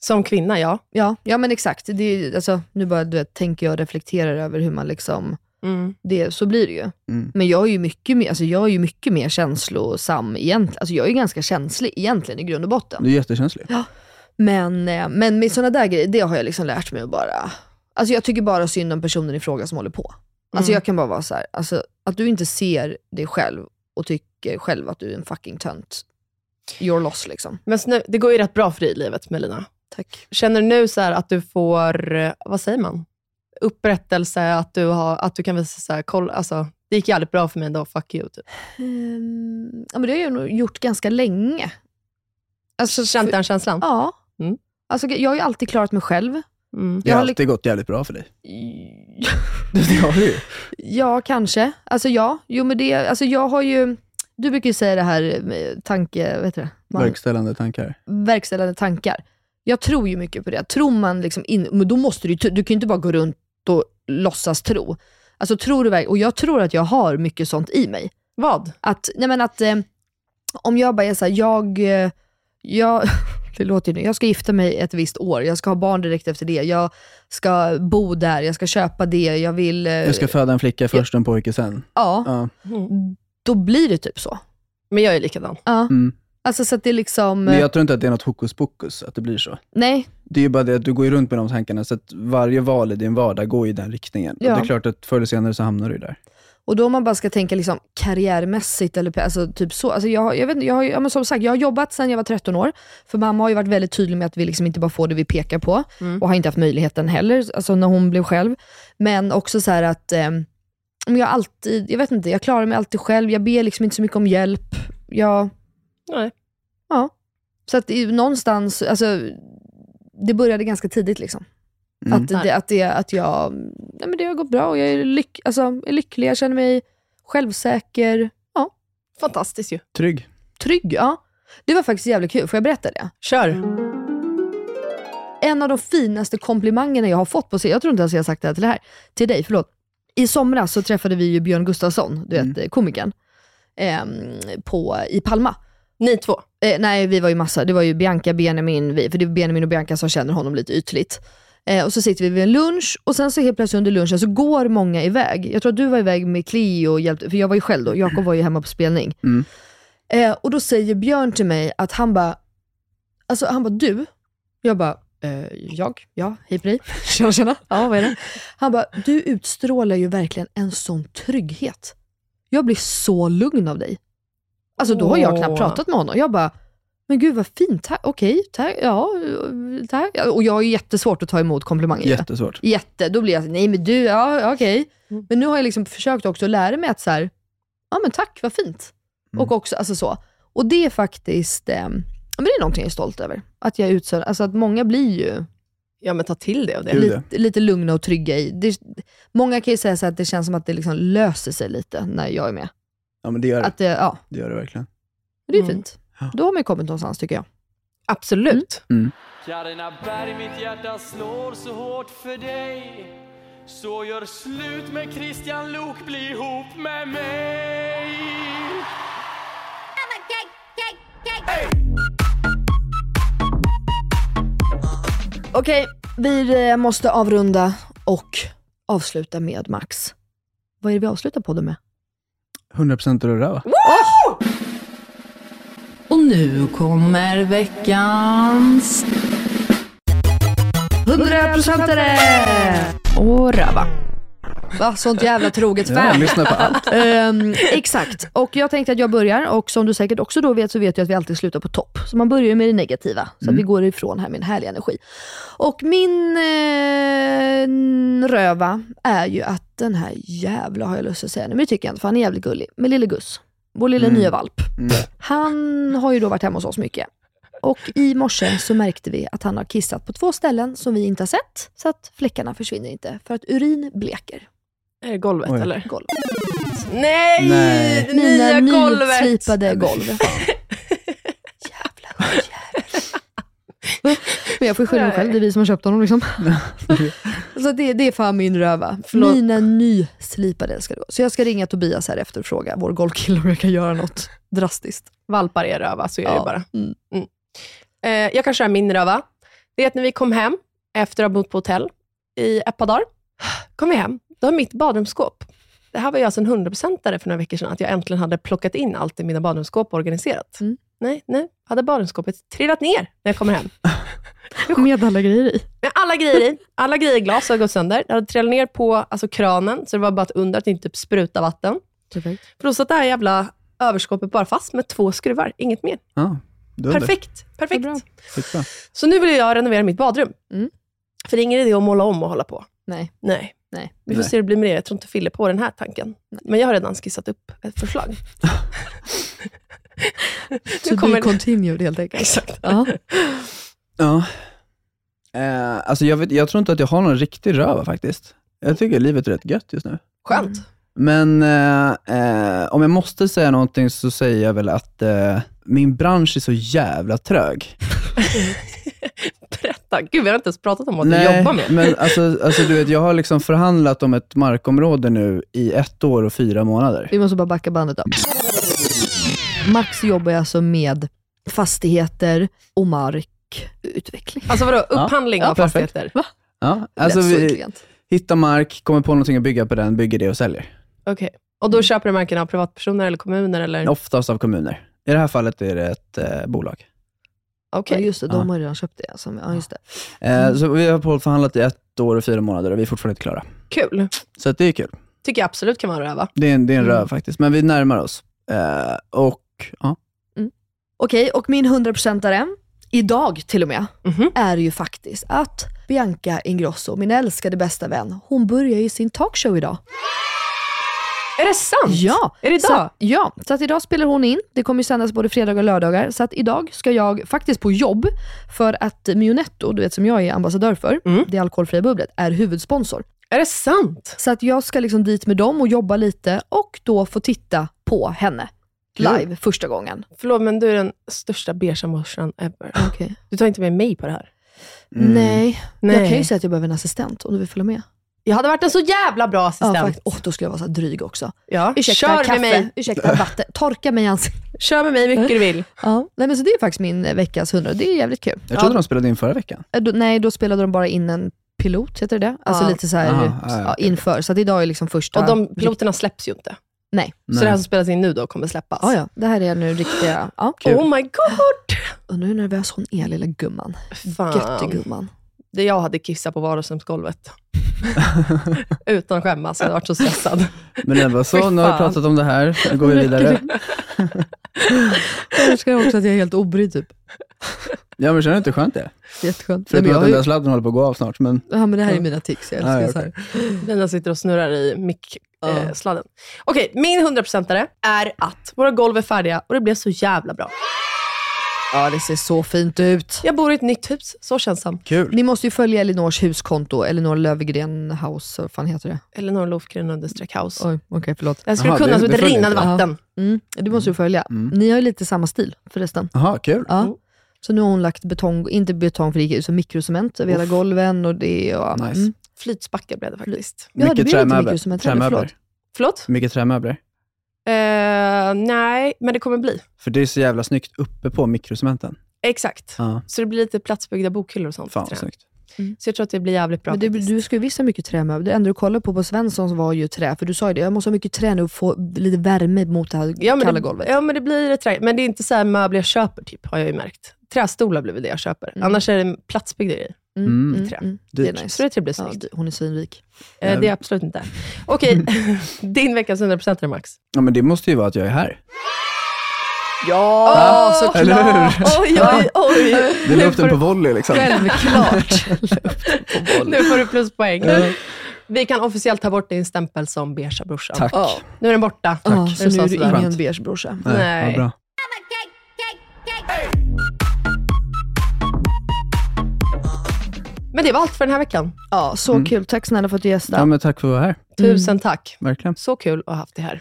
[SPEAKER 3] Som kvinna, ja.
[SPEAKER 2] ja, ja men exakt. Det är, ju- alltså, nu bara du vet, tänker jag och reflekterar över hur man liksom
[SPEAKER 3] Mm.
[SPEAKER 2] det, så blir det ju.
[SPEAKER 4] Mm.
[SPEAKER 2] Men jag är ju mycket mer, alltså jag är ju mycket mer känslosam egentligen. Alltså jag är ju ganska känslig egentligen i grund och botten.
[SPEAKER 4] du är jättekänslig.
[SPEAKER 2] Men, eh, men med sådana där grejer, det har jag liksom lärt mig att bara... Alltså jag tycker bara synd om personen i fråga som håller på. Alltså
[SPEAKER 3] Mm.
[SPEAKER 2] jag kan bara vara så här, alltså att du inte ser dig själv och tycker själv att du är en fucking tönt. You're lost liksom.
[SPEAKER 3] Men så nu, det går ju rätt bra för dig i livet Melina.
[SPEAKER 2] Tack.
[SPEAKER 3] Känner du nu så här att du får, eh, vad säger man? Upprättelse, att du, har, att du kan visa så här, kolla, alltså, det gick jävligt bra för mig ändå, fuck you. Typ.
[SPEAKER 2] Ehm, ja, men det har jag nog gjort ganska länge. Alltså,
[SPEAKER 3] Känt
[SPEAKER 2] för-
[SPEAKER 3] den känslan?
[SPEAKER 2] Ja.
[SPEAKER 3] Mm.
[SPEAKER 2] Alltså, jag har ju alltid klarat mig själv.
[SPEAKER 3] Mm.
[SPEAKER 4] Det har
[SPEAKER 2] Jag har li-
[SPEAKER 4] alltid gått jävligt bra för dig. Det har det ju.
[SPEAKER 2] Ja, kanske. Alltså ja. Jo, men det, alltså, jag har ju... Du brukar ju säga det här med tanke... Vad heter det? Man,
[SPEAKER 4] Verkställande tankar.
[SPEAKER 2] verkställande tankar. Jag tror ju mycket på det. Tror man liksom in, men då måste du ju- Du kan ju inte bara gå runt och låtsas tro. Alltså tror du verkligen... Och jag tror att jag har mycket sånt i mig.
[SPEAKER 3] Vad?
[SPEAKER 2] Att, nej men att eh, om jag bara är såhär, jag, eh, jag, det låter ju nu, jag ska gifta mig ett visst år, jag ska ha barn direkt efter det, jag ska bo där, jag ska köpa det, jag vill... eh,
[SPEAKER 4] Jag ska föda en flicka först och en pojke sen.
[SPEAKER 2] ja,
[SPEAKER 4] Ja.
[SPEAKER 2] då blir det typ så.
[SPEAKER 3] Men jag är likadan.
[SPEAKER 2] Ja.
[SPEAKER 4] Mm.
[SPEAKER 2] Alltså så att det är liksom,
[SPEAKER 4] Men jag tror inte att det är något hokus pokus att det blir så.
[SPEAKER 2] nej,
[SPEAKER 4] Det är ju bara det att du går ju runt med de tankarna, så att varje val i din vardag går i den riktningen.
[SPEAKER 2] Ja.
[SPEAKER 4] Och det är klart att förr eller senare så hamnar du ju där.
[SPEAKER 2] och då om man bara ska tänka liksom karriärmässigt eller pe- alltså, typ så. Alltså, jag, har- jag vet inte, jag har ju- ja, men som sagt, jag har jobbat sedan jag var 13 år, för mamma har ju varit väldigt tydlig med att vi liksom inte bara får det vi pekar på. och har inte haft möjligheten heller, alltså när hon blev själv. Men också så här att eh, men jag har alltid, jag vet inte, jag klarar mig alltid själv. Jag ber liksom inte så mycket om hjälp. Jag,
[SPEAKER 3] Nej.
[SPEAKER 2] ja. Så att det är ju någonstans, alltså, det började ganska tidigt liksom.
[SPEAKER 4] Mm.
[SPEAKER 2] Att, det, att, det, att jag, nej men det har gått bra och jag är, lyck, alltså, är lycklig, jag känner mig självsäker, ja,
[SPEAKER 3] Fantastiskt ju.
[SPEAKER 4] Trygg.
[SPEAKER 2] trygg. Ja. Det var faktiskt jävligt kul, får jag berätta det?
[SPEAKER 3] Kör.
[SPEAKER 2] en av de finaste komplimangerna jag har fått på scen, jag tror inte ens jag har sagt det här till, det här, till dig, förlåt. I somras så träffade vi ju Björn Gustafsson, du vet komikern, ehm, på, i Palma.
[SPEAKER 3] Ni två.
[SPEAKER 2] Eh, nej, vi var ju massa. Det var ju Bianca, Benjamin, vi. För det är Benjamin och Bianca som känner honom lite ytligt. Eh, och så sitter vi vid en lunch och sen så helt plötsligt under lunchen så går många iväg. Jag tror att du var iväg med Cleo, och hjälpte, för jag var ju själv då. Jakob var ju hemma på spelning.
[SPEAKER 4] Mm.
[SPEAKER 2] Eh, och då säger Björn till mig att han bara, alltså han bara du? Jag bara, eh, jag? Ja, hej på dig. Tjena, tjena. Ja, vad är det? Han bara, du utstrålar ju verkligen en sån trygghet. Jag blir så lugn av dig. Alltså då har jag knappt
[SPEAKER 3] Åh.
[SPEAKER 2] pratat med honom. Jag bara, men gud vad fint, tack, okej, tack, ja, tack. Och jag har ju jättesvårt att ta emot komplimanger.
[SPEAKER 4] Jättesvårt.
[SPEAKER 2] Jätte, då blir jag så, nej men du, ja ja, okej. Men nu har jag liksom försökt också lära mig att så här, ja men tack, vad fint. Och också, alltså så. Och det är faktiskt, eh, ja, men det är någonting jag är stolt över. Att jag utsöndrar, alltså att många blir ju
[SPEAKER 3] Ja men ta till det av det.
[SPEAKER 4] Gud,
[SPEAKER 2] lite, lite lugna och trygga i. Det, många kan ju säga så här att det känns som att det liksom löser sig lite när jag är med.
[SPEAKER 4] Ja, men det gör det.
[SPEAKER 2] Att det, ja,
[SPEAKER 4] Det gör det verkligen.
[SPEAKER 2] det är ju
[SPEAKER 3] Mm.
[SPEAKER 2] fint. Då har man ju kommit någonstans tycker jag.
[SPEAKER 3] Absolut.
[SPEAKER 9] Carina Berg, mitt hjärta slår så hårt för dig Så gör slut med Christian Lok, bli ihop med mig
[SPEAKER 2] Okej, vi eh, måste avrunda och avsluta med Max. Vad är det vi avslutar podden med?
[SPEAKER 4] 100% röra va?
[SPEAKER 10] Och nu kommer veckans...
[SPEAKER 2] 100-procentare!
[SPEAKER 3] Och röva.
[SPEAKER 2] Va, sånt jävla troget
[SPEAKER 4] Ja,
[SPEAKER 2] fan.
[SPEAKER 4] lyssna på allt.
[SPEAKER 2] Ehm, exakt, och jag tänkte att jag börjar och som du säkert också då vet så vet jag att vi alltid slutar på topp. Så man börjar ju med det negativa, så att vi går ifrån här med en härlig energi. Och min eh, röva är ju att den här jävla har jag lust att säga nu, men det tycker jag inte för han är jävligt gullig, med lille Gus. Vår lilla nya valp. Han har ju då varit hemma hos oss mycket. Och i morse så märkte vi att han har kissat på två ställen som vi inte har sett, så att fläckarna försvinner inte, för att urin bleker
[SPEAKER 3] Är det golvet
[SPEAKER 4] Oj.
[SPEAKER 3] eller?
[SPEAKER 2] golvet.
[SPEAKER 3] Nej!
[SPEAKER 4] Nej.
[SPEAKER 3] det
[SPEAKER 2] Mina
[SPEAKER 3] Nya golvet!
[SPEAKER 2] nyslipade golv. Jävla skitjävel. Men jag får ju skylla mig själv, det är vi som har köpt honom. Liksom. så det, det är fan min röva.
[SPEAKER 3] Förlåt.
[SPEAKER 2] Mina nyslipade ska det vara. Så jag ska ringa Tobias här efter och fråga vår golvkille om jag kan göra något drastiskt.
[SPEAKER 3] Valpar är röva, så är det
[SPEAKER 2] Ja.
[SPEAKER 3] bara.
[SPEAKER 2] Mm.
[SPEAKER 3] Eh, jag kan köra min röva. Det är att när vi kom hem, efter att ha bott på hotell i ett par dagar, kom vi hem. Då har mitt badrumsskåp, det här var ju alltså en hundraprocentare för några veckor sedan, att jag äntligen hade plockat in allt i mina badrumsskåp och organiserat.
[SPEAKER 2] Mm.
[SPEAKER 3] Nej, nej, hade badrumsskåpet trillat ner när jag kommer hem.
[SPEAKER 2] Med alla grejer i.
[SPEAKER 3] Med alla grejer i. Alla grejer i glas hade gått sönder. Det hade trillat ner på alltså, kranen, så det var bara ett under att det inte sprutade vatten.
[SPEAKER 2] Perfekt.
[SPEAKER 3] För då satt det här jävla överskåpet bara fast med två skruvar, inget mer.
[SPEAKER 4] Ja, du är det.
[SPEAKER 3] Perfekt. perfekt.
[SPEAKER 2] bra.
[SPEAKER 4] Skitbra.
[SPEAKER 3] Så nu vill jag renovera mitt badrum.
[SPEAKER 2] Mm.
[SPEAKER 3] För det är ingen idé att måla om och hålla på.
[SPEAKER 2] Nej.
[SPEAKER 3] Nej.
[SPEAKER 2] Nej.
[SPEAKER 3] Vi får
[SPEAKER 4] Nej.
[SPEAKER 3] se hur det blir med det. Jag tror inte Fille på den här tanken. Men jag har redan skissat upp ett förslag.
[SPEAKER 2] Så du
[SPEAKER 3] kommer-
[SPEAKER 2] är continued helt enkelt.
[SPEAKER 3] Exakt.
[SPEAKER 2] Ja.
[SPEAKER 4] Ja. Eh, alltså jag, vet, jag tror inte att jag har någon riktig röva faktiskt. Jag tycker livet är rätt gött just nu.
[SPEAKER 3] Skönt.
[SPEAKER 2] Mm.
[SPEAKER 4] Men eh, eh, om jag måste säga någonting så säger jag väl att eh, min bransch är så jävla trög.
[SPEAKER 3] Berätta. Gud, vi har inte ens pratat om vad du jobbar med.
[SPEAKER 4] men alltså, alltså du vet, jag har liksom förhandlat om ett markområde nu i ett år och fyra månader.
[SPEAKER 2] Vi måste bara backa bandet då. Max jobbar ju alltså med fastigheter och markutveckling.
[SPEAKER 3] Alltså vadå, upphandling
[SPEAKER 4] Ja,
[SPEAKER 3] av
[SPEAKER 4] perfekt.
[SPEAKER 3] fastigheter? Va?
[SPEAKER 4] Ja, alltså
[SPEAKER 2] Lät så
[SPEAKER 4] vi
[SPEAKER 2] intelligent.
[SPEAKER 4] hittar mark, kommer på någonting att bygga på den, bygger det och säljer.
[SPEAKER 3] Okej. Och då köper du marken av privatpersoner eller kommuner? Eller?
[SPEAKER 4] Oftast av kommuner. I det här fallet är det ett eh, bolag.
[SPEAKER 3] Okej.
[SPEAKER 2] Ja, just det,
[SPEAKER 4] Ja.
[SPEAKER 2] de har ju redan köpt det. Alltså. Ja, just det.
[SPEAKER 4] Eh, Så vi har på- förhandlat i ett år och fyra månader och vi är fortfarande inte klara.
[SPEAKER 3] Kul.
[SPEAKER 4] Så att det är kul.
[SPEAKER 3] Tycker jag absolut kan vara röva.
[SPEAKER 4] Det är en, det är en röv faktiskt, men vi närmar oss. Eh, och ja,
[SPEAKER 2] Okej, och min 100%are, idag till och med,
[SPEAKER 3] Mhm.
[SPEAKER 2] är ju faktiskt att Bianca Ingrosso, min älskade bästa vän, hon börjar ju sin talkshow idag.
[SPEAKER 3] Är det sant?
[SPEAKER 2] Ja.
[SPEAKER 3] Är det
[SPEAKER 2] Så,
[SPEAKER 3] idag?
[SPEAKER 2] att- ja, så att idag spelar hon in. Det kommer ju sändas både fredagar och lördagar. Så att idag ska jag faktiskt på jobb för att Mionetto, du vet som jag är ambassadör för,
[SPEAKER 3] Mm.
[SPEAKER 2] det alkoholfria bubblet, är huvudsponsor.
[SPEAKER 3] Är det sant?
[SPEAKER 2] Så att jag ska liksom dit med dem och jobba lite och då få titta på henne live första gången.
[SPEAKER 3] Förlåt, men du är den största beiga morsan ever. Du tar inte med mig på det här.
[SPEAKER 2] Nej.
[SPEAKER 3] Nej.
[SPEAKER 2] jag kan ju säga att jag behöver en assistent om du vill följa med.
[SPEAKER 3] Jag hade varit en så jävla bra
[SPEAKER 2] Ja,
[SPEAKER 3] assistent.
[SPEAKER 2] faktiskt. Åh, då skulle jag vara så här dryg också.
[SPEAKER 3] Ja.
[SPEAKER 2] Ursäkta,
[SPEAKER 3] Kör
[SPEAKER 2] kaffe.
[SPEAKER 3] med mig.
[SPEAKER 2] Ursäkta, vatten. Torka mig i ansiktet.
[SPEAKER 3] Kör med mig hur mycket du vill.
[SPEAKER 2] Ja. Nej, men så det är faktiskt min eh, veckas hundra. Det är jävligt kul.
[SPEAKER 4] Jag trodde de spelade in förra veckan.
[SPEAKER 2] Eh, Då, nej, då spelade de bara in en pilot, heter det det? Alltså
[SPEAKER 3] Ja.
[SPEAKER 2] lite så här,
[SPEAKER 4] Aha,
[SPEAKER 2] ja,
[SPEAKER 4] ja, ja.
[SPEAKER 2] inför. Så att idag är liksom första...
[SPEAKER 3] Och de piloterna släpps ju inte.
[SPEAKER 2] Nej.
[SPEAKER 3] Så
[SPEAKER 4] Nej.
[SPEAKER 3] det här som spelas in nu då kommer släppas.
[SPEAKER 2] Ah, Ja, ja. Det här är nu riktiga... Ja.
[SPEAKER 4] Kul.
[SPEAKER 3] Oh my god!
[SPEAKER 2] Undrar hur nervös hon är, lilla gumman. Ah.
[SPEAKER 3] Fan.
[SPEAKER 2] Göttegumman.
[SPEAKER 3] Det jag hade kissat på vardagsrumsgolvet. Utan att skämmas, jag hade varit så stressad.
[SPEAKER 4] Men det
[SPEAKER 3] Fy
[SPEAKER 4] var så,
[SPEAKER 3] fan.
[SPEAKER 4] nu har vi pratat om det här, nu går vi vidare.
[SPEAKER 2] Jag älskar också att jag är helt obrydd typ.
[SPEAKER 4] Ja men känner du inte hur skönt det är?
[SPEAKER 2] Jätteskönt. Nej,
[SPEAKER 4] Förutom
[SPEAKER 2] men jag
[SPEAKER 4] att
[SPEAKER 2] har
[SPEAKER 4] den där
[SPEAKER 2] ju,
[SPEAKER 4] sladden håller på att gå av snart. Men
[SPEAKER 2] ja, men det här är mina tics, jag älskar
[SPEAKER 4] Ja, ja,
[SPEAKER 2] så här.
[SPEAKER 3] Den sitter och snurrar i mick-sladden. Eh, sladden. Okej, min 100%are är att våra golv är färdiga och det blev så jävla bra.
[SPEAKER 2] Ja, det ser så fint ut.
[SPEAKER 3] Jag bor i ett nytt hus, så kännsam.
[SPEAKER 4] kul.
[SPEAKER 2] Ni måste ju följa Elinors huskonto, Elinor Löfgren House, vad fan heter det?
[SPEAKER 3] Elinor Lofgren understreck house.
[SPEAKER 2] Oj, okej, förlåt.
[SPEAKER 3] Jag skulle
[SPEAKER 4] Jaha,
[SPEAKER 3] kunna
[SPEAKER 4] det-
[SPEAKER 3] som
[SPEAKER 4] det
[SPEAKER 3] ett
[SPEAKER 4] följer
[SPEAKER 3] rinnande
[SPEAKER 4] inte.
[SPEAKER 3] vatten.
[SPEAKER 2] Mm, det måste du följa. Ni har ju lite samma stil förresten.
[SPEAKER 4] Jaha, kul.
[SPEAKER 2] Ja. Så nu har hon lagt betong, inte betong för det gick ut, så mikrocement över hela golven och det. Och,
[SPEAKER 4] Nice.
[SPEAKER 2] mm.
[SPEAKER 3] Flytspackel blev det faktiskt.
[SPEAKER 2] Ja, det blir
[SPEAKER 4] Mycket
[SPEAKER 2] lite
[SPEAKER 4] trämöbler.
[SPEAKER 2] mikrocement här nu,
[SPEAKER 4] trämöbler.
[SPEAKER 3] Förlåt?
[SPEAKER 4] Mycket trämöbler.
[SPEAKER 3] Eh, nej, men det kommer bli.
[SPEAKER 4] För det är så jävla snyggt uppe på mikrocementen.
[SPEAKER 3] Exakt.
[SPEAKER 4] Ja.
[SPEAKER 3] Så det blir lite platsbyggda bokhyllor och sånt.
[SPEAKER 4] Fan
[SPEAKER 3] tror
[SPEAKER 4] vad
[SPEAKER 3] jag.
[SPEAKER 4] snyggt.
[SPEAKER 3] Så jag tror att det blir jävligt bra.
[SPEAKER 2] Men du,
[SPEAKER 3] faktiskt.
[SPEAKER 2] du ska ju vissa mycket trämöbler. Det enda du kollade på på Svenssons var ju trä, för du sa ju det, jag måste ha mycket trä nu och få lite värme mot det här
[SPEAKER 3] ja, men
[SPEAKER 2] kalla
[SPEAKER 3] det,
[SPEAKER 2] golvet.
[SPEAKER 3] Ja, men det blir ett trä. Men det är inte så här möbler jag köper, typ, har jag ju märkt. Trästolar blir väl det jag köper.
[SPEAKER 2] Mm.
[SPEAKER 3] Annars är det platsbyggda grejer.
[SPEAKER 4] Mm.
[SPEAKER 2] mm,
[SPEAKER 3] trä.
[SPEAKER 2] mm. Det
[SPEAKER 4] Dyrt.
[SPEAKER 2] är
[SPEAKER 3] Så
[SPEAKER 2] nice.
[SPEAKER 3] det tror jag blir
[SPEAKER 2] Ja,
[SPEAKER 3] snyggt.
[SPEAKER 2] hon är svinrik.
[SPEAKER 3] Eh, det är absolut inte. Okej, din veckas 100% är Max.
[SPEAKER 4] Ja, men det måste ju vara att jag är här.
[SPEAKER 3] Ja, såklart.
[SPEAKER 4] Eller hur?
[SPEAKER 3] Oj, oj, oj. Nu
[SPEAKER 4] Det la upp
[SPEAKER 3] får
[SPEAKER 4] den
[SPEAKER 3] du-
[SPEAKER 4] på volley liksom.
[SPEAKER 2] Självklart.
[SPEAKER 3] Nu får du pluspoäng.
[SPEAKER 4] Ja.
[SPEAKER 3] Vi kan officiellt ta bort din stämpel som beiga brorsa.
[SPEAKER 4] Tack.
[SPEAKER 3] Ja, nu är den borta.
[SPEAKER 2] Ja, så nu är du
[SPEAKER 3] sådär.
[SPEAKER 2] ingen
[SPEAKER 4] Skönt.
[SPEAKER 2] beige brorsa.
[SPEAKER 3] Nej.
[SPEAKER 4] vad bra.
[SPEAKER 3] Men det var allt för den här veckan.
[SPEAKER 2] Ja, så kul. Tack snälla för att du gästade.
[SPEAKER 4] Ja, men tack för att du var här.
[SPEAKER 3] Tusen
[SPEAKER 2] Mm.
[SPEAKER 3] tack.
[SPEAKER 4] Verkligen.
[SPEAKER 3] Så kul att ha haft det här.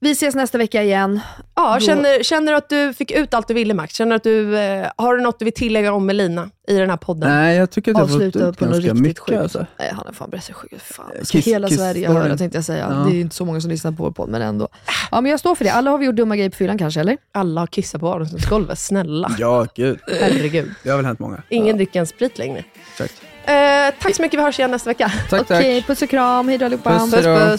[SPEAKER 2] Vi ses nästa vecka igen.
[SPEAKER 3] Ja,
[SPEAKER 2] Då-
[SPEAKER 3] känner, känner du att du fick ut allt du ville, Max? Känner du att du, eh, har du något du vill tillägga om Melina i den här podden?
[SPEAKER 4] Nej, jag tycker att jag har fått
[SPEAKER 2] Avsluta
[SPEAKER 4] ut
[SPEAKER 2] på något
[SPEAKER 4] ganska
[SPEAKER 2] riktigt
[SPEAKER 4] mycket.
[SPEAKER 2] sjukt.
[SPEAKER 4] Alltså.
[SPEAKER 2] Nej, han är fan bröstsjuk. Fan,
[SPEAKER 4] Eh,
[SPEAKER 2] ska
[SPEAKER 4] kiss-
[SPEAKER 2] hela
[SPEAKER 4] kiss
[SPEAKER 2] Sverige
[SPEAKER 4] storyn.
[SPEAKER 2] höra tänkte jag säga.
[SPEAKER 4] Ja.
[SPEAKER 2] Det är ju inte så många som lyssnar på vår podd, men ändå. Ja, men jag står för det. Alla har vi gjort dumma grejer på fyllan kanske, eller?
[SPEAKER 3] Alla har kissat på vardagsrumsgolvet, snälla.
[SPEAKER 4] Ja, gud.
[SPEAKER 3] Herregud.
[SPEAKER 4] Det har väl hänt många.
[SPEAKER 3] Ingen dricker en sprit längre.
[SPEAKER 4] Exakt.
[SPEAKER 3] Eh, tack så mycket, vi hörs igen nästa vecka.
[SPEAKER 4] Tack, tack.
[SPEAKER 2] Okej, puss och kram. Hej då allihopa.
[SPEAKER 4] Puss, hej då.